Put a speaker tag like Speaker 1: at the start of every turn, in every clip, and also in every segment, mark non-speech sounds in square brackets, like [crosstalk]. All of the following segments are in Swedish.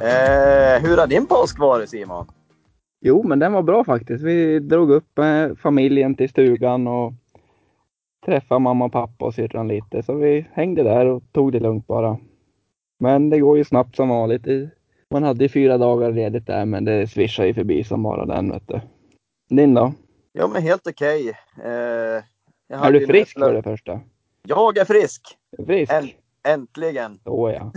Speaker 1: Eh, har din påsk varit Simon?
Speaker 2: Jo, men den var bra faktiskt. Vi drog upp eh, familjen till stugan och träffade mamma och pappa och syrran lite. Så vi hängde där och tog det lugnt bara. Men det går ju snabbt som vanligt. I- Man hade ju fyra dagar ledigt där, men det svischar ju förbi som bara den vet du. Din då?
Speaker 1: Jo, men helt okej. Eh, jag
Speaker 2: Är
Speaker 1: hade
Speaker 2: du
Speaker 1: ju
Speaker 2: frisk
Speaker 1: näsla-
Speaker 2: för det första?
Speaker 1: Jag är frisk!
Speaker 2: Frisk?
Speaker 1: Äl- Äntligen!
Speaker 2: Då ja.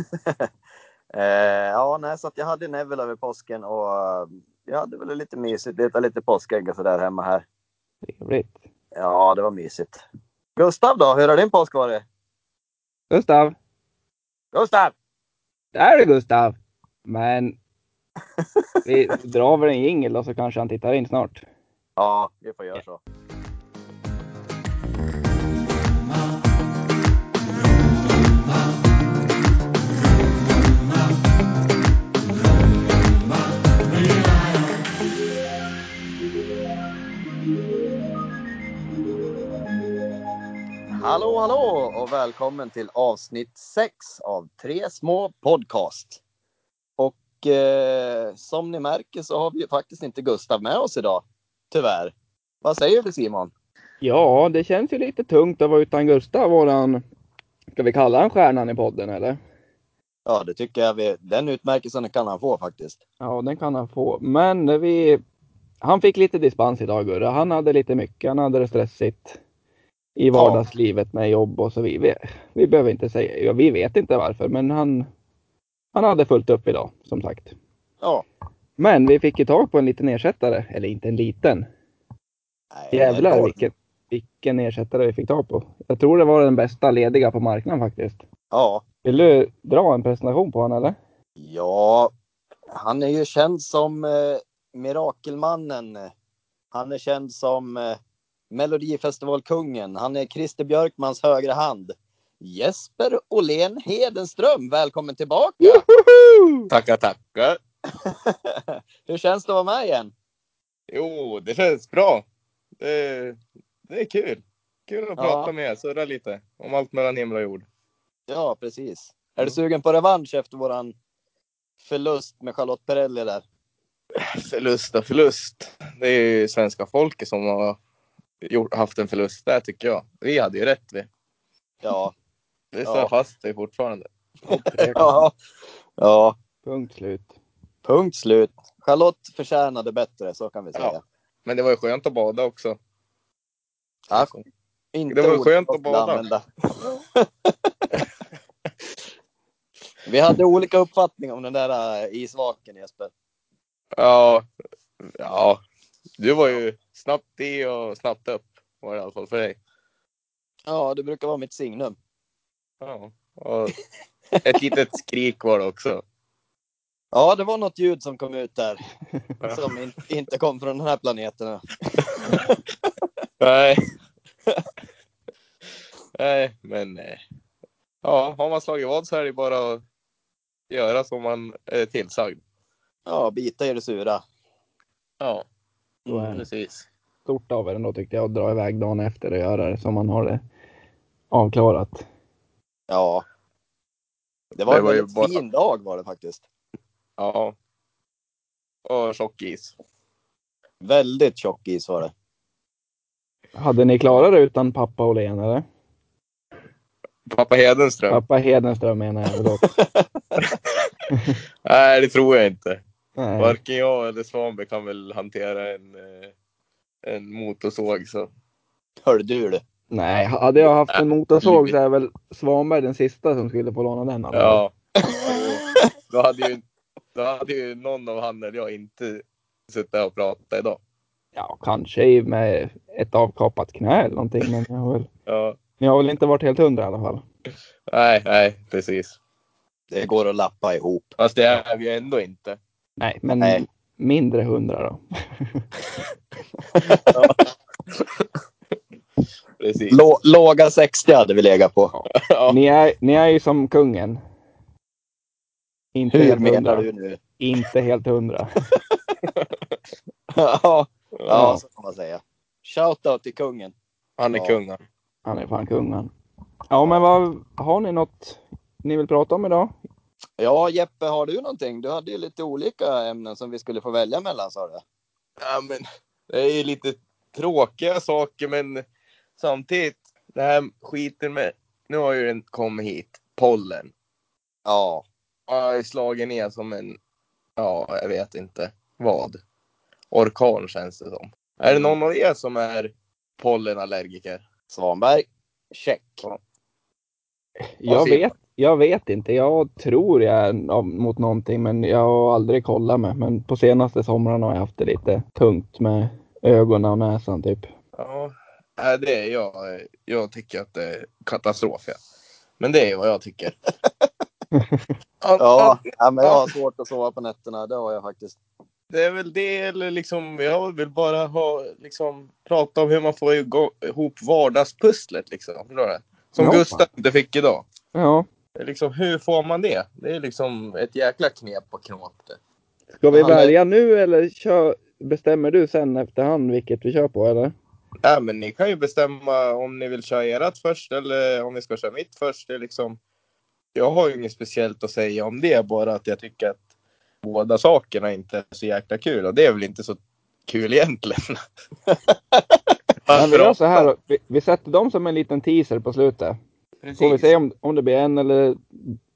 Speaker 1: Eh, ja, nej, så att jag hade Neville över påsken och eh, jag hade väl lite mysigt. Leta lite påskägg och sådär hemma här.
Speaker 2: Trevligt.
Speaker 1: Ja, det var mysigt. Gustav då, hur har din påsk varit?
Speaker 2: Gustav?
Speaker 1: Gustav!
Speaker 2: Där är du Gustav! Men
Speaker 1: [laughs]
Speaker 2: vi drar väl en jingel och så kanske han tittar in snart.
Speaker 1: Ja, vi får göra så. Hallå, hallå och välkommen till avsnitt 6 av Tre små podcast. Och eh, som ni märker så har vi ju faktiskt inte Gustav med oss idag. Tyvärr. Vad säger du Simon?
Speaker 2: Ja, det känns ju lite tungt att vara utan Gustav, våran, ska vi kalla han stjärnan i podden eller?
Speaker 1: Ja, det tycker jag. Vi, den utmärkelsen kan han få faktiskt.
Speaker 2: Ja, den kan han få. Men vi, han fick lite dispens idag Gurra. Han hade lite mycket, han hade det stressigt i vardagslivet med jobb och så vidare. Vi, vi behöver inte säga, ja, vi vet inte varför, men han, han hade fullt upp idag som sagt.
Speaker 1: Ja.
Speaker 2: Men vi fick ju tag på en liten ersättare, eller inte en liten.
Speaker 1: Nej,
Speaker 2: Jävlar
Speaker 1: men-
Speaker 2: vilken, vilken ersättare vi fick tag på. Jag tror det var den bästa lediga på marknaden faktiskt.
Speaker 1: Ja.
Speaker 2: Vill du dra en presentation på honom eller?
Speaker 1: Ja, han är ju känd som eh, Mirakelmannen. Han är känd som eh, Melodifestivalkungen. Han är Christer Björkmans högra hand. Jesper Åhlén Hedenström, välkommen tillbaka!
Speaker 2: Woho!
Speaker 3: Tackar, tackar.
Speaker 1: [laughs] Hur känns det att vara med igen?
Speaker 3: Jo, det känns bra. Det, det är kul. Kul att
Speaker 1: Ja.
Speaker 3: prata med er, surra lite om allt mellan himmel och jord.
Speaker 1: Ja, precis. Är du sugen på revansch efter våran förlust med Charlotte Perrelli där?
Speaker 3: Förlust och förlust. Det är ju svenska folket som har gjort, haft en förlust där tycker jag. Vi hade ju rätt vi.
Speaker 1: Ja.
Speaker 3: Det
Speaker 1: Ja.
Speaker 3: står fast vi fortfarande.
Speaker 1: ja. Ja,
Speaker 2: Punkt slut.
Speaker 1: punkt slut. Charlotte förtjänade bättre, så kan vi
Speaker 3: Ja.
Speaker 1: säga.
Speaker 3: Men det var ju skönt att bada också.
Speaker 1: Ja. Inte
Speaker 3: Det var
Speaker 1: ordet
Speaker 3: skönt
Speaker 1: jag
Speaker 3: att
Speaker 1: skulle
Speaker 3: bada.
Speaker 1: använda. [laughs] Vi hade olika uppfattning om den där äh, isvaken Jesper.
Speaker 3: Ja. ja. Du var ju snabbt i och snabbt upp. Var det i alla fall för dig.
Speaker 1: Ja, det brukar vara mitt signum.
Speaker 3: Ja. Och ett litet skrik var det [laughs] också.
Speaker 1: Ja, det var något ljud som kom ut där som in, inte kom från den här planeten.
Speaker 3: Nej. [laughs] Nej, men eh, ja, har man slagit vad så är det bara att göra som man är tillsagd.
Speaker 1: Ja, bita i det sura.
Speaker 3: Ja,
Speaker 2: Då är det
Speaker 3: precis.
Speaker 2: stort av er ändå tyckte jag att dra iväg dagen efter och göra det som man har det avklarat.
Speaker 1: Ja. Det var,
Speaker 3: Det var
Speaker 1: en
Speaker 3: ju
Speaker 1: väldigt
Speaker 3: bara-
Speaker 1: fin dag var det faktiskt.
Speaker 3: Ja. Och tjock is.
Speaker 1: Väldigt tjock is var det.
Speaker 2: Hade ni klarat det utan pappa Åhlén eller?
Speaker 3: Pappa Hedenström?
Speaker 2: Pappa Hedenström menar jag förlåt.
Speaker 3: Nej, det tror jag inte.
Speaker 2: Nej.
Speaker 3: Varken jag eller Svanberg kan väl hantera en, eh, en motorsåg. Så.
Speaker 1: Hör du
Speaker 3: [laughs]
Speaker 1: det?
Speaker 2: Nej, hade jag haft en motorsåg så är väl Svanberg den sista som skulle få låna den. alltså.
Speaker 3: Ja. Då hade, ju, då hade ju någon av han eller jag inte suttit här och pratat idag.
Speaker 2: ja, kanske i- med ett avkapat knä eller någonting. Men jag har väl,
Speaker 3: Ja.
Speaker 2: ni har väl inte varit helt hundra i alla fall?
Speaker 3: Nej, nej, precis.
Speaker 1: Det går att lappa ihop.
Speaker 3: Fast det är vi ju ändå inte.
Speaker 2: Nej, men
Speaker 1: Nej.
Speaker 2: mindre hundra då.
Speaker 3: Precis.
Speaker 1: Lå, låga 60 hade vi legat på.
Speaker 3: Ja.
Speaker 2: Ni, är, ni är ju som kungen. Inte
Speaker 1: Hur
Speaker 2: helt
Speaker 1: menar du
Speaker 2: hundra.
Speaker 1: nu? [laughs]
Speaker 2: Inte helt hundra.
Speaker 1: ja, ja,
Speaker 3: Ja,
Speaker 1: så kan man säga. Shoutout till kungen.
Speaker 3: han är
Speaker 1: Ja.
Speaker 3: kung han.
Speaker 2: Han är fan kungen. Ja, men vad, har ni något ni vill prata om idag?
Speaker 1: Ja, Jeppe, har du någonting? Du hade ju lite olika ämnen som vi skulle få välja mellan, sa du.
Speaker 3: Ja, men det är ju lite tråkiga saker, men samtidigt, det här skiten med... Nu har ju den kommit hit, pollen.
Speaker 1: Ja,
Speaker 3: Och jag har ju slagit ner som en... Ja, jag vet inte vad. Orkan känns det som. Är det någon av er som är pollenallergiker?
Speaker 1: Svanberg. Check.
Speaker 2: Jag
Speaker 3: Simon?
Speaker 2: vet, jag vet inte. Jag tror jag är no- mot någonting men jag har aldrig kollat med. Men på senaste somrarna har jag haft det lite tungt med ögonen och näsan typ.
Speaker 3: Ja, nej, det är jag. Jag tycker att det är katastrof. Ja. Men det är vad jag tycker. ja.
Speaker 1: Ja, ja men jag har svårt att sova på nätterna. Det har jag faktiskt.
Speaker 3: Det är väl det, eller liksom, jag vill bara ha, liksom, prata om hur man får igå- ihop vardagspusslet. Liksom, förstår du? Som
Speaker 2: Ja.
Speaker 3: Gustav inte fick idag.
Speaker 2: Ja,
Speaker 3: Det är Liksom, hur får man det? Det är liksom ett jäkla knep och knåp. det.
Speaker 2: ska vi
Speaker 3: Han är-
Speaker 2: välja nu eller kör, bestämmer du sen efterhand vilket vi kör på eller?
Speaker 3: Ja, men ni kan ju bestämma om ni vill köra ert först eller om ni ska köra mitt först. Det är liksom, jag har ju inget speciellt att säga om det, bara att jag tycker att båda sakerna inte är så jäkla kul. Och det är väl inte så kul egentligen. [laughs]
Speaker 2: Men vi gör så här, vi, vi sätter dem som en liten teaser på slutet. Får vi
Speaker 3: Precis.
Speaker 2: se om, om det blir en eller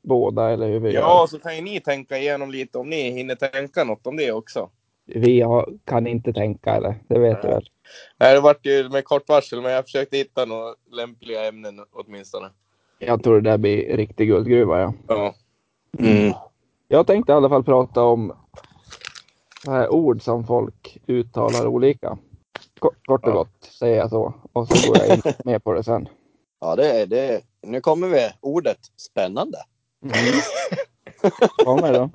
Speaker 2: båda eller hur vi
Speaker 3: Ja, så kan ju ni tänka igenom lite om ni hinner tänka något om det också.
Speaker 2: gör. Vi har, kan inte tänka eller? Det vet du väl?
Speaker 3: Nej, det vart ju med kort varsel, men jag försökte hitta några lämpliga ämnen åtminstone.
Speaker 2: Jag tror det där blir riktig guldgruva ja.
Speaker 3: Ja.
Speaker 2: Jag tänkte i alla fall prata om så här ord som folk uttalar olika. Kort, kort och
Speaker 3: Ja.
Speaker 2: gott säger jag så och så går
Speaker 3: [laughs]
Speaker 2: jag in med på det sen.
Speaker 1: Ja, det är det. Nu kommer vi. Ordet spännande.
Speaker 2: Vad med då?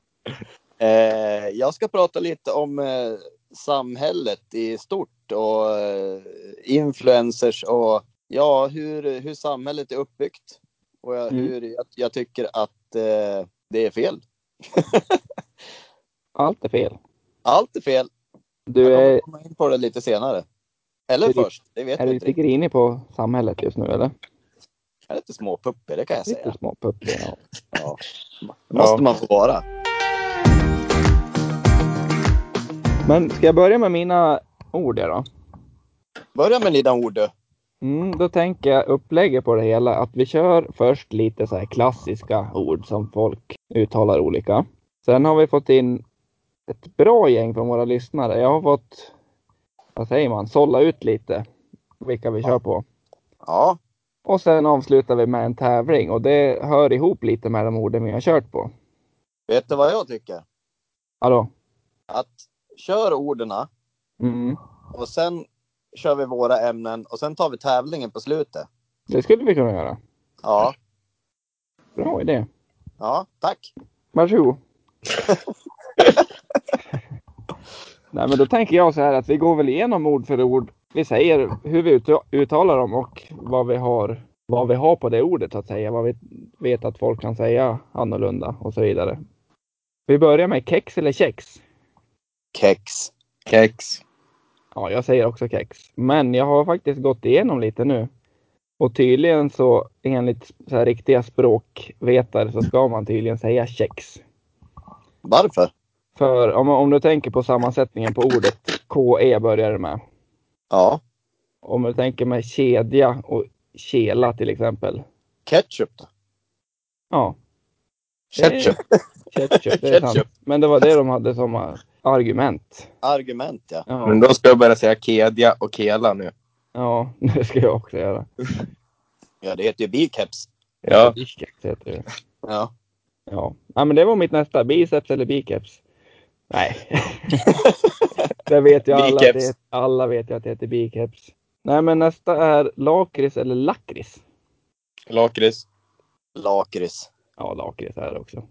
Speaker 1: Eh, jag ska prata lite om eh, samhället i stort och eh, influencers och ja, hur, hur samhället är uppbyggt. Och jag,
Speaker 2: Mm.
Speaker 1: hur jag, jag tycker att eh, det är fel.
Speaker 2: Allt är fel.
Speaker 1: Allt är fel.
Speaker 2: Du
Speaker 1: jag
Speaker 2: är,
Speaker 1: kommer komma in på det lite senare. Eller
Speaker 2: Är du-
Speaker 1: först, det vet
Speaker 2: är
Speaker 1: jag
Speaker 2: du
Speaker 1: inte.
Speaker 2: lite
Speaker 1: riktigt.
Speaker 2: grinig på samhället just nu eller?
Speaker 1: Jag är lite småpuppig, det kan jag
Speaker 2: Lite
Speaker 1: säga.
Speaker 2: små puppor. Ja.
Speaker 1: Ja. Måste man få vara.
Speaker 2: Men ska jag börja med mina ord här då?
Speaker 1: Börja med dina ord. du.
Speaker 2: Mm, då tänker jag upplägget på det hela att vi kör först lite så här klassiska ord som folk uttalar olika. Sen har vi fått in ett bra gäng från våra lyssnare. Jag har fått, vad säger man, sålla ut lite vilka vi kör på.
Speaker 1: Ja,
Speaker 2: Och sen avslutar vi med en tävling och det hör ihop lite med de orden vi har kört på.
Speaker 1: vet du vad jag tycker?
Speaker 2: Hallå?
Speaker 1: Att kör orden
Speaker 2: Mm.
Speaker 1: och sen kör vi våra ämnen och sen tar vi tävlingen på slutet.
Speaker 2: Det skulle vi kunna göra.
Speaker 1: Ja,
Speaker 2: Bra idé.
Speaker 1: ja, tack.
Speaker 2: Varsågod. Nej, men då tänker jag så här att vi går väl igenom ord för ord. Vi säger hur vi ut- uttalar dem och vad vi har, vad vi har på det ordet att säga. Vad vi vet att folk kan säga annorlunda och så vidare. Vi börjar med kex eller kex.
Speaker 1: Kex.
Speaker 3: Kex.
Speaker 2: Ja, jag säger också kex. Men jag har faktiskt gått igenom lite nu. Och tydligen så enligt så här riktiga språkvetare så ska man tydligen säga kex.
Speaker 1: Varför?
Speaker 2: För om, om du tänker på sammansättningen på ordet KE börjar det med.
Speaker 1: Ja,
Speaker 2: Om du tänker med kedja och kela till exempel.
Speaker 1: ketchup. då.
Speaker 2: Ja,
Speaker 3: Ketchup.
Speaker 2: ketchup, det är sant.
Speaker 3: Ketchup.
Speaker 2: Men det var det de hade som eh, argument.
Speaker 1: Argument ja.
Speaker 3: Men
Speaker 2: Ja,
Speaker 3: då ska jag börja säga kedja och kela nu.
Speaker 2: ja [laughs] det ska jag också göra.
Speaker 1: Ja, det heter ju bikeps.
Speaker 3: Ja.
Speaker 2: Biceps heter det.
Speaker 1: Ja.
Speaker 2: Ja. ja, men det var mitt nästa. Biceps eller biceps?
Speaker 3: [laughs]
Speaker 2: Nej. det vet ju alla. att
Speaker 3: Biceps.
Speaker 2: Det, alla vet ju att det heter biceps. Nej, men nästa är lakrits eller lakrits.
Speaker 3: Lakrits.
Speaker 1: Lakrits.
Speaker 2: Ja, lakrits är det också.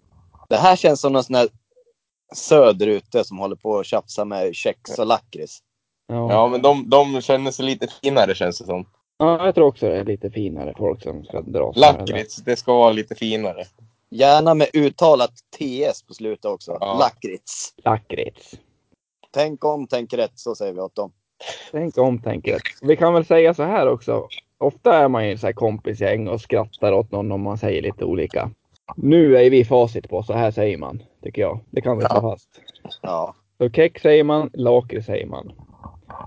Speaker 1: Det här känns som någon sån här söderute som håller på och tjafsar med kex och lakrits.
Speaker 2: Ja.
Speaker 3: Ja, men de, de känner sig lite finare känns det som.
Speaker 2: Ja, jag tror också det är lite finare folk som ska dra såna här.
Speaker 3: Lakrits, det ska vara lite finare.
Speaker 1: Gärna med uttalat TS på slutet också.
Speaker 3: Ja.
Speaker 1: Lakrits.
Speaker 2: Lakrits.
Speaker 1: Tänk om, tänk rätt, så säger vi åt dem.
Speaker 2: Tänk om, tänk rätt. Vi kan väl säga så här också. Ofta är man ju så här kompisgäng och skrattar åt någon om man säger lite olika. Nu är vi facit på så här säger man, tycker jag. Det kan vi slå
Speaker 3: Ja.
Speaker 2: fast.
Speaker 1: Ja,
Speaker 2: Så kex säger man, lakrits säger man.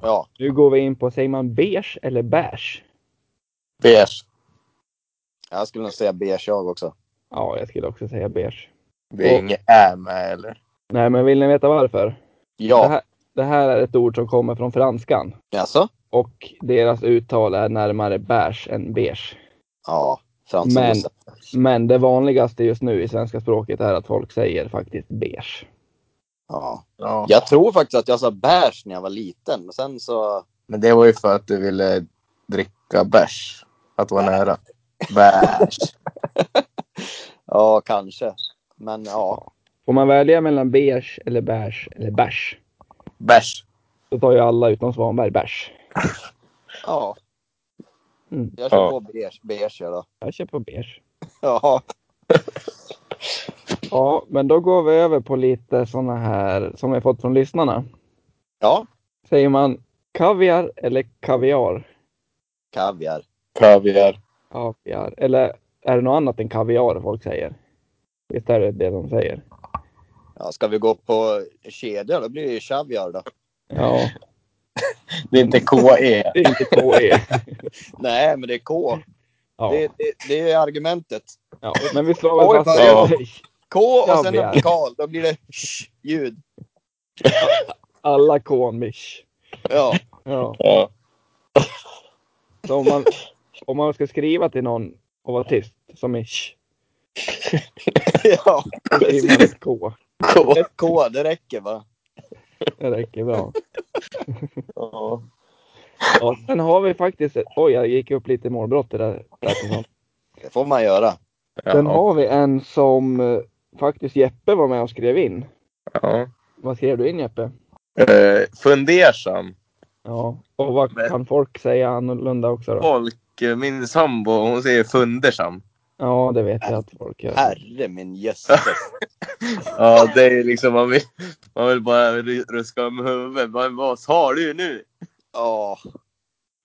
Speaker 1: ja.
Speaker 2: Nu går vi in på, säger man beige eller beige?
Speaker 3: Beige.
Speaker 1: Jag skulle nog säga beige jag också.
Speaker 2: Ja, jag skulle också säga beige.
Speaker 3: Det är inget ä med eller?
Speaker 2: Nej, men vill ni veta varför? Det,
Speaker 1: Ja,
Speaker 2: här, det här är ett ord som kommer från franskan
Speaker 1: alltså?
Speaker 2: och deras uttal är närmare beige än beige.
Speaker 1: Ja,
Speaker 2: Men-
Speaker 1: fransosen.
Speaker 2: Men det vanligaste just nu i svenska språket är att folk säger faktiskt beige.
Speaker 1: Ja.
Speaker 3: Ja.
Speaker 1: Jag tror faktiskt att jag sa beige när jag var liten, men sen så...
Speaker 3: Men det var ju för att du ville dricka bärs. Att vara nära. Bärs.
Speaker 1: Ja, kanske. Men ja,
Speaker 2: Får man välja mellan beige eller beige eller beige
Speaker 3: Bärs.
Speaker 2: så tar ju alla utom Svanberg beige.
Speaker 1: ja.
Speaker 2: Mm.
Speaker 1: Jag kör
Speaker 3: Ja.
Speaker 1: på beige, beige jag då.
Speaker 2: Jag köper beige.
Speaker 1: Ja,
Speaker 2: Ja, men då går vi över på lite sådana här som vi fått från lyssnarna.
Speaker 1: ja.
Speaker 2: Säger man kaviar eller kaviar?
Speaker 1: kaviar.
Speaker 3: Kaviar.
Speaker 2: Kaviar. Eller är det något annat än kaviar folk säger? Visst är det det de säger?
Speaker 1: Ja, ska vi gå på kedja då blir det ju kaviar då.
Speaker 2: Ja,
Speaker 3: Det är inte E. KE.
Speaker 2: det är inte E. KE.
Speaker 1: Nej, men det är K.
Speaker 2: Ja,
Speaker 1: Det, det, det är argumentet.
Speaker 2: ja. Men vi slår väl
Speaker 1: Oj,
Speaker 2: fast
Speaker 3: vad-
Speaker 2: att
Speaker 1: K och sen
Speaker 2: Kaviar.
Speaker 1: en vokal, då blir det ljud.
Speaker 2: alla K mish.
Speaker 1: Ja,
Speaker 2: Ja.
Speaker 3: Ja.
Speaker 2: Så om man, om man ska skriva till någon och vara tyst, som mish,
Speaker 1: ja.
Speaker 2: då skriver man ett K.
Speaker 3: [laughs] K.
Speaker 1: Ett K, det räcker va?
Speaker 2: Det räcker bra.
Speaker 3: Ja.
Speaker 2: Ja, sen har vi faktiskt, oj jag gick upp lite i målbrott det där. där till någon.
Speaker 1: Det får man göra.
Speaker 2: Sen har vi en som eh, faktiskt Jeppe var med och skrev in.
Speaker 3: Ja.
Speaker 2: Vad skrev du in Jeppe?
Speaker 3: Eh, fundersam.
Speaker 2: Ja, och vad kan folk säga annorlunda också då?
Speaker 3: Folk, eh, min sambo, hon säger fundersam.
Speaker 2: Ja, det vet jag att folk gör.
Speaker 1: Herre min jösses.
Speaker 3: Ja, det är liksom man vill, man vill bara ru- ruska om huvudet. Vad, vad sa du nu?
Speaker 1: Ja,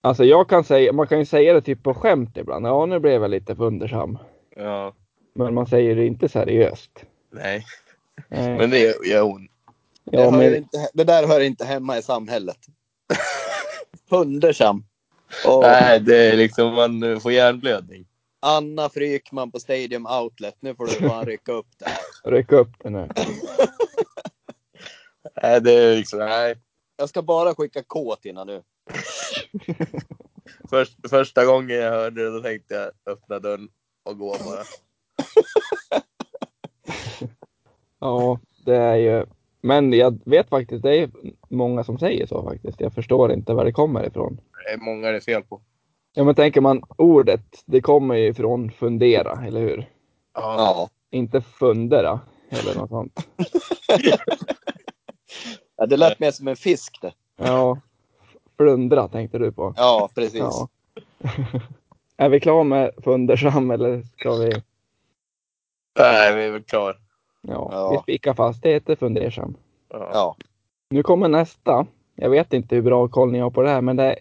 Speaker 2: Alltså jag kan säga, man kan ju säga det typ på skämt ibland. Ja, nu blev jag lite fundersam.
Speaker 3: Ja,
Speaker 2: Men man säger det inte seriöst.
Speaker 3: nej.
Speaker 2: Eh,
Speaker 3: Men det gör ont.
Speaker 1: det,
Speaker 2: ja,
Speaker 1: hör
Speaker 2: men,
Speaker 1: inte, det där hör inte hemma i samhället. Fundersam. Och
Speaker 3: Nej, det är liksom man eh, får hjärnblödning.
Speaker 1: Anna Frykman på Stadium Outlet. Nu får du fan rycka upp det.
Speaker 2: ryck upp den nu.
Speaker 3: Nej, det är liksom, nej.
Speaker 1: Jag ska bara skicka K till innan nu.
Speaker 3: Först, första gången jag hörde det då tänkte jag öppna dörren och gå bara.
Speaker 2: Ja, det är ju. Men jag vet faktiskt, det är många som säger så faktiskt. Jag förstår inte var det kommer ifrån.
Speaker 3: Det är många det är fel på.
Speaker 2: Ja, men tänker man ordet, det kommer ju ifrån fundera, eller hur?
Speaker 3: Ja.
Speaker 1: Ja.
Speaker 2: Inte fundera eller något sånt.
Speaker 1: ja det lät mer som en fisk det.
Speaker 2: Ja, flundra tänkte du på.
Speaker 1: Ja, precis.
Speaker 2: Ja. [laughs] är vi klara med fundersam eller ska vi?
Speaker 3: Nej, vi är väl klar.
Speaker 2: Ja,
Speaker 1: Ja.
Speaker 2: vi spikar fast. Det heter fundersam.
Speaker 3: Ja.
Speaker 1: Ja.
Speaker 2: Nu kommer nästa. Jag vet inte hur bra koll ni har på det här, men det är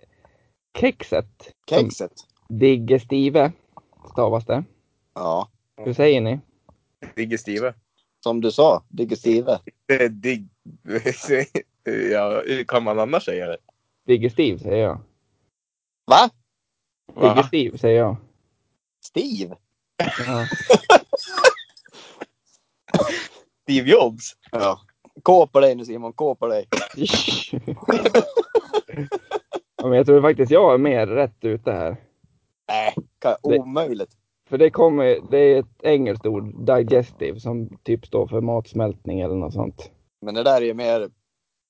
Speaker 2: kexet.
Speaker 1: Kexet.
Speaker 2: Digestive stavas det.
Speaker 1: Ja.
Speaker 2: Hur säger ni?
Speaker 3: Digestive.
Speaker 1: Som du sa, digestive.
Speaker 3: Det [laughs] är dig... ja, hur kan man annars säga det?
Speaker 2: Digestiv säger jag.
Speaker 1: Va?
Speaker 3: Va?
Speaker 2: Digestiv säger jag.
Speaker 1: Steve?
Speaker 2: Ja.
Speaker 3: Steve Jobs?
Speaker 1: Ja. K på dig nu Simon, K på dig.
Speaker 2: [laughs] ja, men jag tror faktiskt jag är mer rätt ute här.
Speaker 1: Nej, kan- Äh, omöjligt.
Speaker 2: För det kommer, det är ett engelskt ord, digestive, som typ står för matsmältning eller något sånt.
Speaker 1: Men det där är ju mer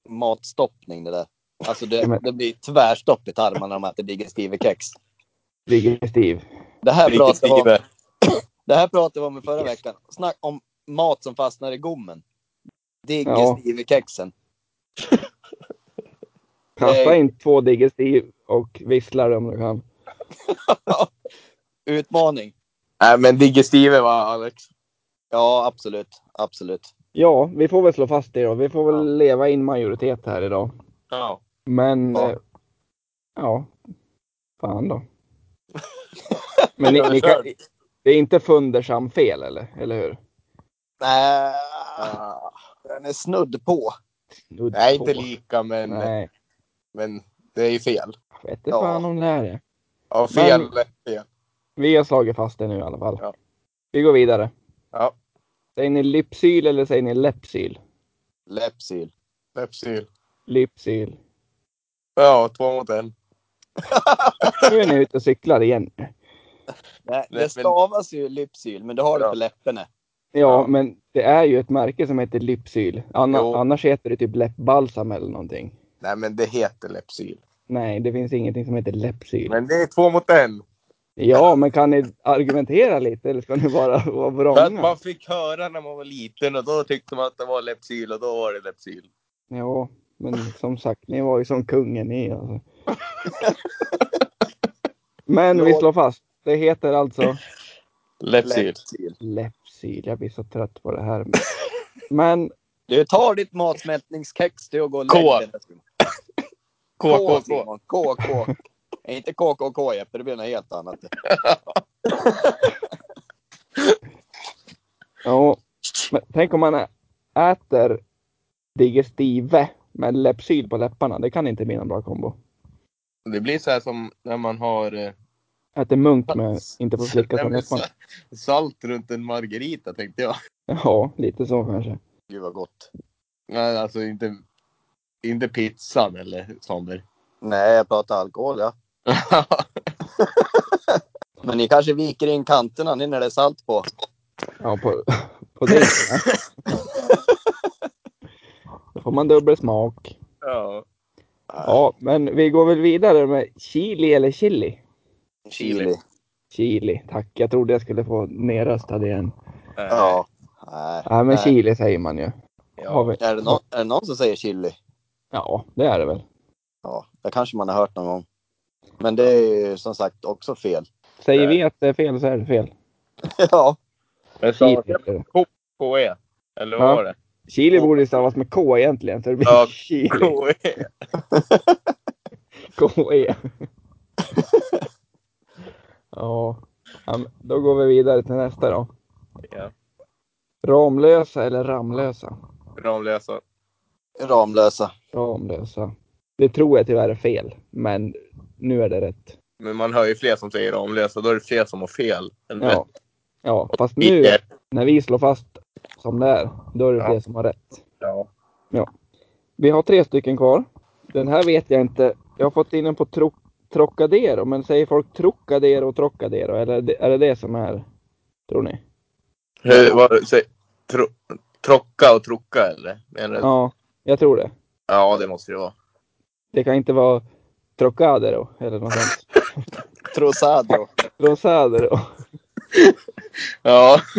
Speaker 1: matstoppning det där. Alltså
Speaker 2: Ja,
Speaker 1: det,
Speaker 2: men-
Speaker 1: det blir tvärstopp i tarmarna när man äter digestive kex.
Speaker 2: Digestiv.
Speaker 1: Det här pratade vi om,
Speaker 3: Digestive.
Speaker 1: det här pratade vi om i förra veckan. Snack om mat som fastnar i gommen. Digestive kexen.
Speaker 2: Kasta
Speaker 1: Nej.
Speaker 2: in två digestiv och visslar om du kan.
Speaker 1: Utmaning.
Speaker 3: Nej, men digestive va, Alex?
Speaker 1: Ja, absolut. Absolut.
Speaker 2: Ja, vi får väl slå fast det då. Vi får väl leva in majoritet här idag.
Speaker 3: Ja.
Speaker 2: Men eh,
Speaker 1: Ja.
Speaker 2: ja,
Speaker 3: [laughs]
Speaker 2: ja fan då. Men ni, ni, kan, Det är inte fundersam fel eller, eller hur?
Speaker 1: Nej, Äh,
Speaker 3: Ah.
Speaker 1: den är snudd på.
Speaker 2: Snudd
Speaker 3: Nej, inte
Speaker 2: på.
Speaker 3: lika, men,
Speaker 2: Nej,
Speaker 3: men det är ju fel.
Speaker 2: jag vet inte
Speaker 1: Ja.
Speaker 2: fan om det här är.
Speaker 3: Ja, fel.
Speaker 2: Men-
Speaker 3: fel.
Speaker 2: Vi har slagit fast det nu i alla fall.
Speaker 3: Ja.
Speaker 2: Vi går vidare.
Speaker 3: Ja.
Speaker 2: Säger ni Lypsyl eller säger ni Lepsyl?
Speaker 1: Lepsyl.
Speaker 3: Lepsyl.
Speaker 2: Lypsyl.
Speaker 3: Ja, två mot en.
Speaker 2: Nu är ni ute och cyklar igen. Ja,
Speaker 1: Nej,
Speaker 3: Nej, men-
Speaker 1: det stavas ju Lypsyl, men du har det
Speaker 3: Ja.
Speaker 1: på läpparna.
Speaker 3: Ja.
Speaker 2: men det är ju ett märke som heter Lypsyl. Anna,
Speaker 3: Jo.
Speaker 2: annars heter det typ läppbalsam eller någonting.
Speaker 3: Nej, men det heter Lepsyl.
Speaker 2: Nej, det finns ingenting som heter Lepsyl.
Speaker 3: Men det är två mot en.
Speaker 2: Ja, men kan ni argumentera lite eller ska ni bara [laughs] vara
Speaker 3: För att
Speaker 2: vrånga?
Speaker 3: man fick höra när man var liten och då tyckte man att det var Lepsyl och då var det Lepsyl.
Speaker 2: Ja, men som sagt, ni var ju som kungen ni alltså. Men vi slår fast. Det heter alltså
Speaker 1: Lepsyl.
Speaker 2: Lepsyl. Jag blir så trött på det här. Men
Speaker 1: Du tar ditt matsmältningskex du och går och
Speaker 3: K.
Speaker 1: lägger dig. K,
Speaker 3: KKK.
Speaker 1: Simon. K, K. Nej, Inte KKK Jeppe, det blir något helt annat.
Speaker 2: Ja, men tänk om man ä- äter digestive med Lepsyl på läpparna. Det kan inte bli någon bra kombo.
Speaker 3: Det blir så här som när man har eh,
Speaker 2: Äter munk med inte får slicka
Speaker 3: nej,
Speaker 2: från
Speaker 3: men
Speaker 2: läpparna.
Speaker 3: sa- salt runt en margarita tänkte jag.
Speaker 2: Ja, lite så kanske.
Speaker 1: Gud vad gott.
Speaker 3: Nej, alltså inte, inte pizzan eller Sander. [laughs]
Speaker 1: Nej, jag pratar alkohol ja. Men ni kanske viker in kanterna nu när det är salt på.
Speaker 2: Ja, på, [laughs] på det. Då får man dubbel smak.
Speaker 3: ja.
Speaker 2: Ja, men vi går väl vidare med chili eller chili?
Speaker 3: Chili.
Speaker 2: Chili, tack. Jag trodde jag skulle få nerröstad igen.
Speaker 1: Ja. Nej.
Speaker 2: Nej, men
Speaker 1: Nej.
Speaker 2: chili säger man ju. Har
Speaker 3: ja.
Speaker 2: vi...
Speaker 1: Är, det någon, är det någon som säger chili?
Speaker 2: Ja, det är det väl.
Speaker 1: Ja, det kanske man har hört någon gång. Men det är ju som sagt också fel. [laughs]
Speaker 2: Säger vi att det är fel så är det fel.
Speaker 1: ja.
Speaker 3: Men
Speaker 2: Chili,
Speaker 3: sa jag
Speaker 2: heter det.
Speaker 3: KE? Eller
Speaker 2: Ja.
Speaker 3: vad var det?
Speaker 2: Chili borde ju stavas med K egentligen, så det blir
Speaker 3: Ja,
Speaker 2: chili.
Speaker 3: KE. [laughs]
Speaker 2: K-E. ja. ja, men då går vi vidare till nästa då.
Speaker 3: Ja.
Speaker 2: Ramlösa eller Ramlösa?
Speaker 3: Ramlösa.
Speaker 1: Ramlösa.
Speaker 2: Ramlösa. Det tror jag tyvärr är fel, men nu är det rätt.
Speaker 3: Men man hör ju fler som säger Ramlösa. Då är det fler som har fel. Eller?
Speaker 2: Ja, ja fast nu när vi slår fast som det är, då är det
Speaker 3: Ja.
Speaker 2: fler som har rätt.
Speaker 3: Ja.
Speaker 2: Vi har tre stycken kvar. Den här vet jag inte. Jag har fått in den på tro, Trocadero, men säger folk Trocadero och Trocadero? Eller är det- är det det som är, tror ni?
Speaker 3: Hur, vad, säg, tro, trocka och trocka eller? Menar du?
Speaker 2: Ja, jag tror det.
Speaker 3: ja, det måste det vara.
Speaker 2: Det kan inte vara Trocadero eller något sånt.
Speaker 1: [laughs] Trosado.
Speaker 2: Rosadero.
Speaker 3: Ja. [laughs]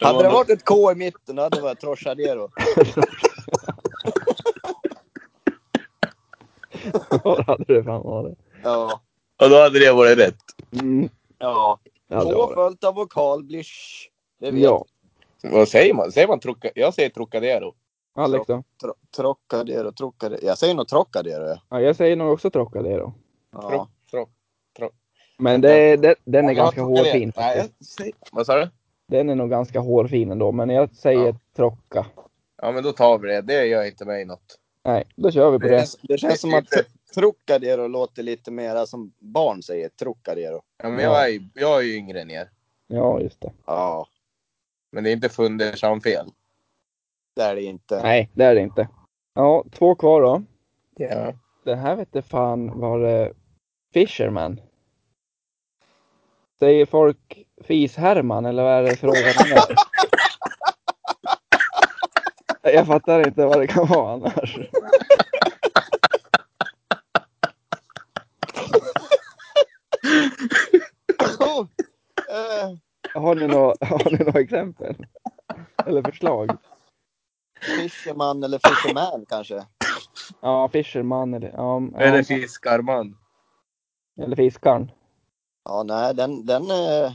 Speaker 1: Hade det varit ett K i mitten då hade det varit Trochadero.
Speaker 2: Vad hade det fan varit?
Speaker 1: [laughs] Ja.
Speaker 3: Och då hade det varit rätt.
Speaker 2: Mm,
Speaker 1: ja.
Speaker 2: det hade
Speaker 1: K
Speaker 2: varit.
Speaker 1: följt av vokal blir sh. Det vet
Speaker 2: Ja,
Speaker 3: Vad säger man? Säger man trocka? Jag säger Trocadero.
Speaker 2: Alex då?
Speaker 1: Tro- Trocadero, Trocadero. Jag säger nog Trocadero. ja.
Speaker 2: Ja, jag säger nog också Trocadero.
Speaker 1: Ja.
Speaker 3: Troc-
Speaker 2: Men det, det, den är ganska
Speaker 3: Ja,
Speaker 2: hårfin
Speaker 3: Nej,
Speaker 2: faktiskt.
Speaker 3: jag säger- Vad sa du?
Speaker 2: Den är nog ganska hårfin ändå, men jag säger
Speaker 3: Ja.
Speaker 2: Trocca.
Speaker 3: Ja, men då tar vi det. Det gör inte mig något.
Speaker 2: Nej, då kör vi på det.
Speaker 1: Det, det känns som att Trocadero låter lite mera som barn säger. Trocadero.
Speaker 3: Ja, men
Speaker 2: Ja.
Speaker 3: Jag, är, ju- jag är ju yngre än er.
Speaker 2: Ja, just det.
Speaker 1: Ja,
Speaker 3: Men det är inte fundersam fel.
Speaker 1: det är det inte.
Speaker 2: Nej, det är det inte. Ja, två kvar då.
Speaker 3: Ja.
Speaker 2: Den här vette fan var det Fisherman. Säger folk Fis-Herman eller vad är det frågan är? Jag fattar inte vad det kan vara annars.
Speaker 1: [laughs] Oh, eh,
Speaker 2: Har ni några, har ni några exempel? Eller förslag?
Speaker 1: Fisherman eller Fisherman kanske.
Speaker 2: Ja, Fisherman eller, ja,
Speaker 3: Eller
Speaker 2: ja,
Speaker 3: fiskarman.
Speaker 2: eller Fiskaren.
Speaker 1: Ja, nej, den... den eh...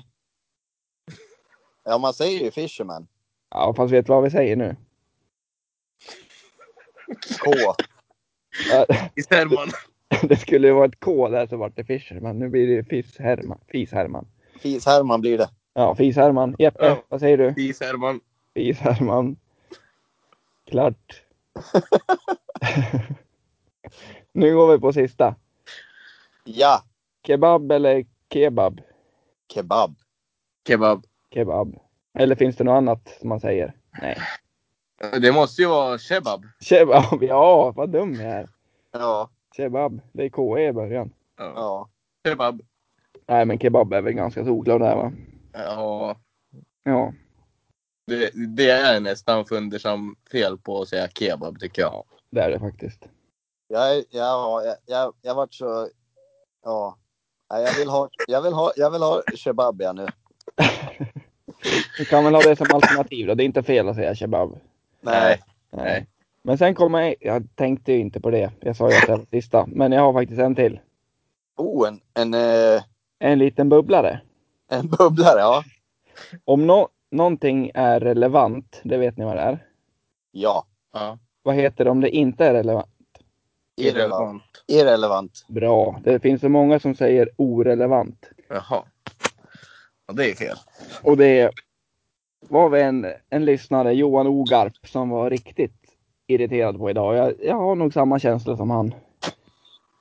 Speaker 1: Ja, man säger ju Fisherman.
Speaker 2: Ja, fast vet du vad vi säger nu?
Speaker 1: K.
Speaker 2: Ja, [laughs]
Speaker 3: [laughs] Fiskarman.
Speaker 2: Det skulle ju vara ett K där så vart det Fisherman. Nu blir det Fis-Herman. Fis-Herman.
Speaker 1: Fis-Herman blir det.
Speaker 2: Ja, Fis-Herman. Jeppe,
Speaker 3: Ja.
Speaker 2: vad säger du?
Speaker 3: Fis Herman.
Speaker 2: Fis-Herman. Klart. nu går vi på sista.
Speaker 1: Ja,
Speaker 2: Kebab eller kebab?
Speaker 1: kebab.
Speaker 3: Kebab.
Speaker 2: Kebab. Eller finns det något annat som man säger? Nej.
Speaker 3: Det måste ju vara kebab.
Speaker 2: Kebab, [laughs] ja vad dum jag är.
Speaker 1: Ja,
Speaker 2: Kebab, det är KE i början.
Speaker 3: Ja.
Speaker 1: ja.
Speaker 3: Kebab.
Speaker 2: Nej men kebab är väl ganska solklar där va?
Speaker 3: Ja.
Speaker 2: Ja.
Speaker 3: Det, det är nästan fundersam fel på att säga kebab tycker jag.
Speaker 2: Det är det faktiskt.
Speaker 1: Jag, är- ja, jag, jag, jag vart så... Ja. Nej, Jag vill ha, jag vill ha, jag vill ha kebab jag nu.
Speaker 2: Du kan väl ha det som alternativ då. Det är inte fel att säga kebab.
Speaker 1: Nej.
Speaker 3: Nej.
Speaker 2: Men sen kommer jag tänkte ju inte på det. Jag sa ju att det var sista. Men jag har faktiskt en till.
Speaker 1: Oh, en, en, eh,
Speaker 2: En liten bubblare.
Speaker 1: en bubblare, ja.
Speaker 2: Om nå någonting är relevant, det vet ni vad det är.
Speaker 1: Ja,
Speaker 3: Ja.
Speaker 2: Vad heter det om det inte är relevant?
Speaker 1: irrelevant. Irrelevant.
Speaker 2: Bra. Det finns så många som säger orelevant.
Speaker 3: Jaha. Ja, det är fel.
Speaker 2: Och det var vi en, en lyssnare, Johan Ogarp, som var riktigt irriterad på idag. Jag, jag har nog samma känsla som han.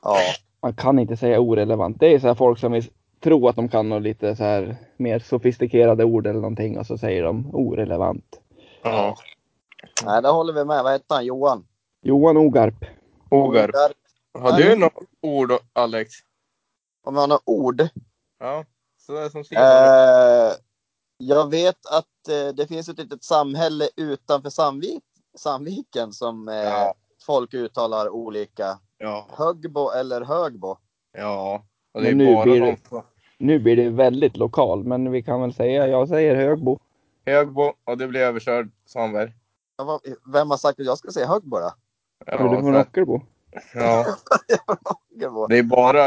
Speaker 1: Ja,
Speaker 2: Man kan inte säga orelevant. Det är så här folk som vill tro att de kan något lite så här mer sofistikerade ord eller någonting och så säger de orelevant.
Speaker 3: Ja.
Speaker 1: Nej, där håller vi med. Vad hette han? Johan?
Speaker 2: Johan Ogarp.
Speaker 3: Ogarp.
Speaker 1: Där,
Speaker 3: Har du något ord Alex?
Speaker 1: om jag har några ord.
Speaker 3: Ja. Sådär som Simon.
Speaker 1: Eh, [laughs] jag vet att eh, det finns ett litet samhälle utanför Sandvik, Sandviken som eh,
Speaker 3: Ja.
Speaker 1: folk uttalar olika.
Speaker 3: Ja.
Speaker 1: Högbo eller Högbo.
Speaker 3: Ja. Och det
Speaker 2: Men
Speaker 3: är
Speaker 2: nu
Speaker 3: bara
Speaker 2: blir
Speaker 3: de
Speaker 2: det-
Speaker 3: på
Speaker 2: Nu blir det väldigt lokal, men vi kan väl säga, jag säger Högbo.
Speaker 3: Högbo och det blir överkörd Svanberg.
Speaker 1: Ja, vad- Vem har sagt att jag ska säga Högbo då?
Speaker 2: Ja, du från
Speaker 3: så-
Speaker 2: Ockelbo?
Speaker 3: ja.
Speaker 1: Högbo.
Speaker 3: Det är bara...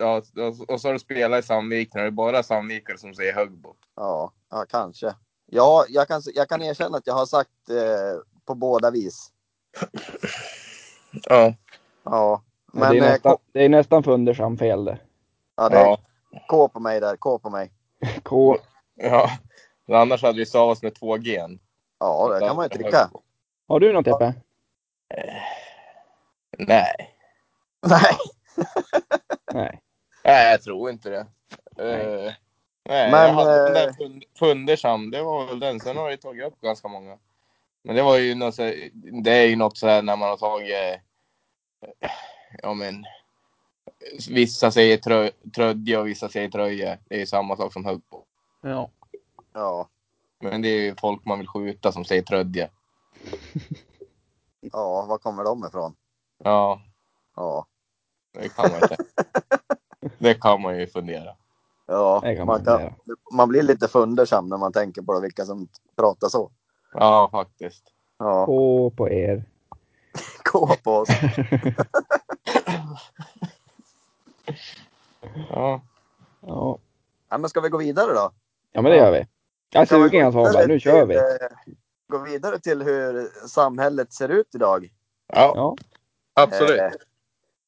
Speaker 3: Ja, och- och så har du spelat i Sandviken och det är bara Sandvikare som säger Högbo.
Speaker 1: Ja, ja kanske. Ja, jag kan, jag kan erkänna att jag har sagt eh, på båda vis. Ja,
Speaker 3: Ja.
Speaker 2: Ja,
Speaker 1: men
Speaker 2: det, är
Speaker 1: eh,
Speaker 2: nästan,
Speaker 1: K,
Speaker 2: det är nästan fundersam fel det.
Speaker 1: ja, det är
Speaker 3: Ja.
Speaker 1: K på mig där. K på mig.
Speaker 2: K,
Speaker 3: ja. Men Annars hade vi stavats med två G.
Speaker 1: Ja, det kan man ju tycka.
Speaker 2: har du något Jeppe?
Speaker 3: Nej.
Speaker 1: [laughs] Nej,
Speaker 2: Nej.
Speaker 3: Nej, jag tror inte det.
Speaker 2: Nej.
Speaker 3: Eh, nej,
Speaker 1: Men,
Speaker 3: jag hade den där
Speaker 1: eh,
Speaker 3: fund, fundersam, det var väl den. Sen har jag tagit upp ganska många. Men det var ju något så, det är ju något så här när man har tagit, eh, ja men, vissa säger trö, trödja och vissa säger tröja. Det är ju samma sak som högg på.
Speaker 2: Ja.
Speaker 1: ja,
Speaker 3: Men det är ju folk man vill skjuta som säger trödja.
Speaker 1: ja, var kommer de ifrån?
Speaker 3: Ja,
Speaker 1: Ja,
Speaker 3: det kan
Speaker 1: [laughs]
Speaker 3: man inte. det kan man ju fundera.
Speaker 1: ja
Speaker 2: Det kan
Speaker 1: man
Speaker 2: man
Speaker 1: kan,
Speaker 2: säga.
Speaker 1: man blir lite fundersam när man tänker på det, vilka som pratar så.
Speaker 3: Ja, faktiskt.
Speaker 1: Ja,
Speaker 2: K på er.
Speaker 1: K på oss.
Speaker 3: Ja.
Speaker 2: Ja,
Speaker 1: Ja, men ska vi gå vidare då?
Speaker 2: ja men det gör vi. Jag är
Speaker 1: Kan vi
Speaker 2: sugen jag
Speaker 1: gå vidare
Speaker 2: Svanberg, nu kör vi.
Speaker 1: till, eh, Gå vidare till hur samhället ser ut idag.
Speaker 3: ja,
Speaker 2: Ja,
Speaker 3: absolut.
Speaker 1: Eh,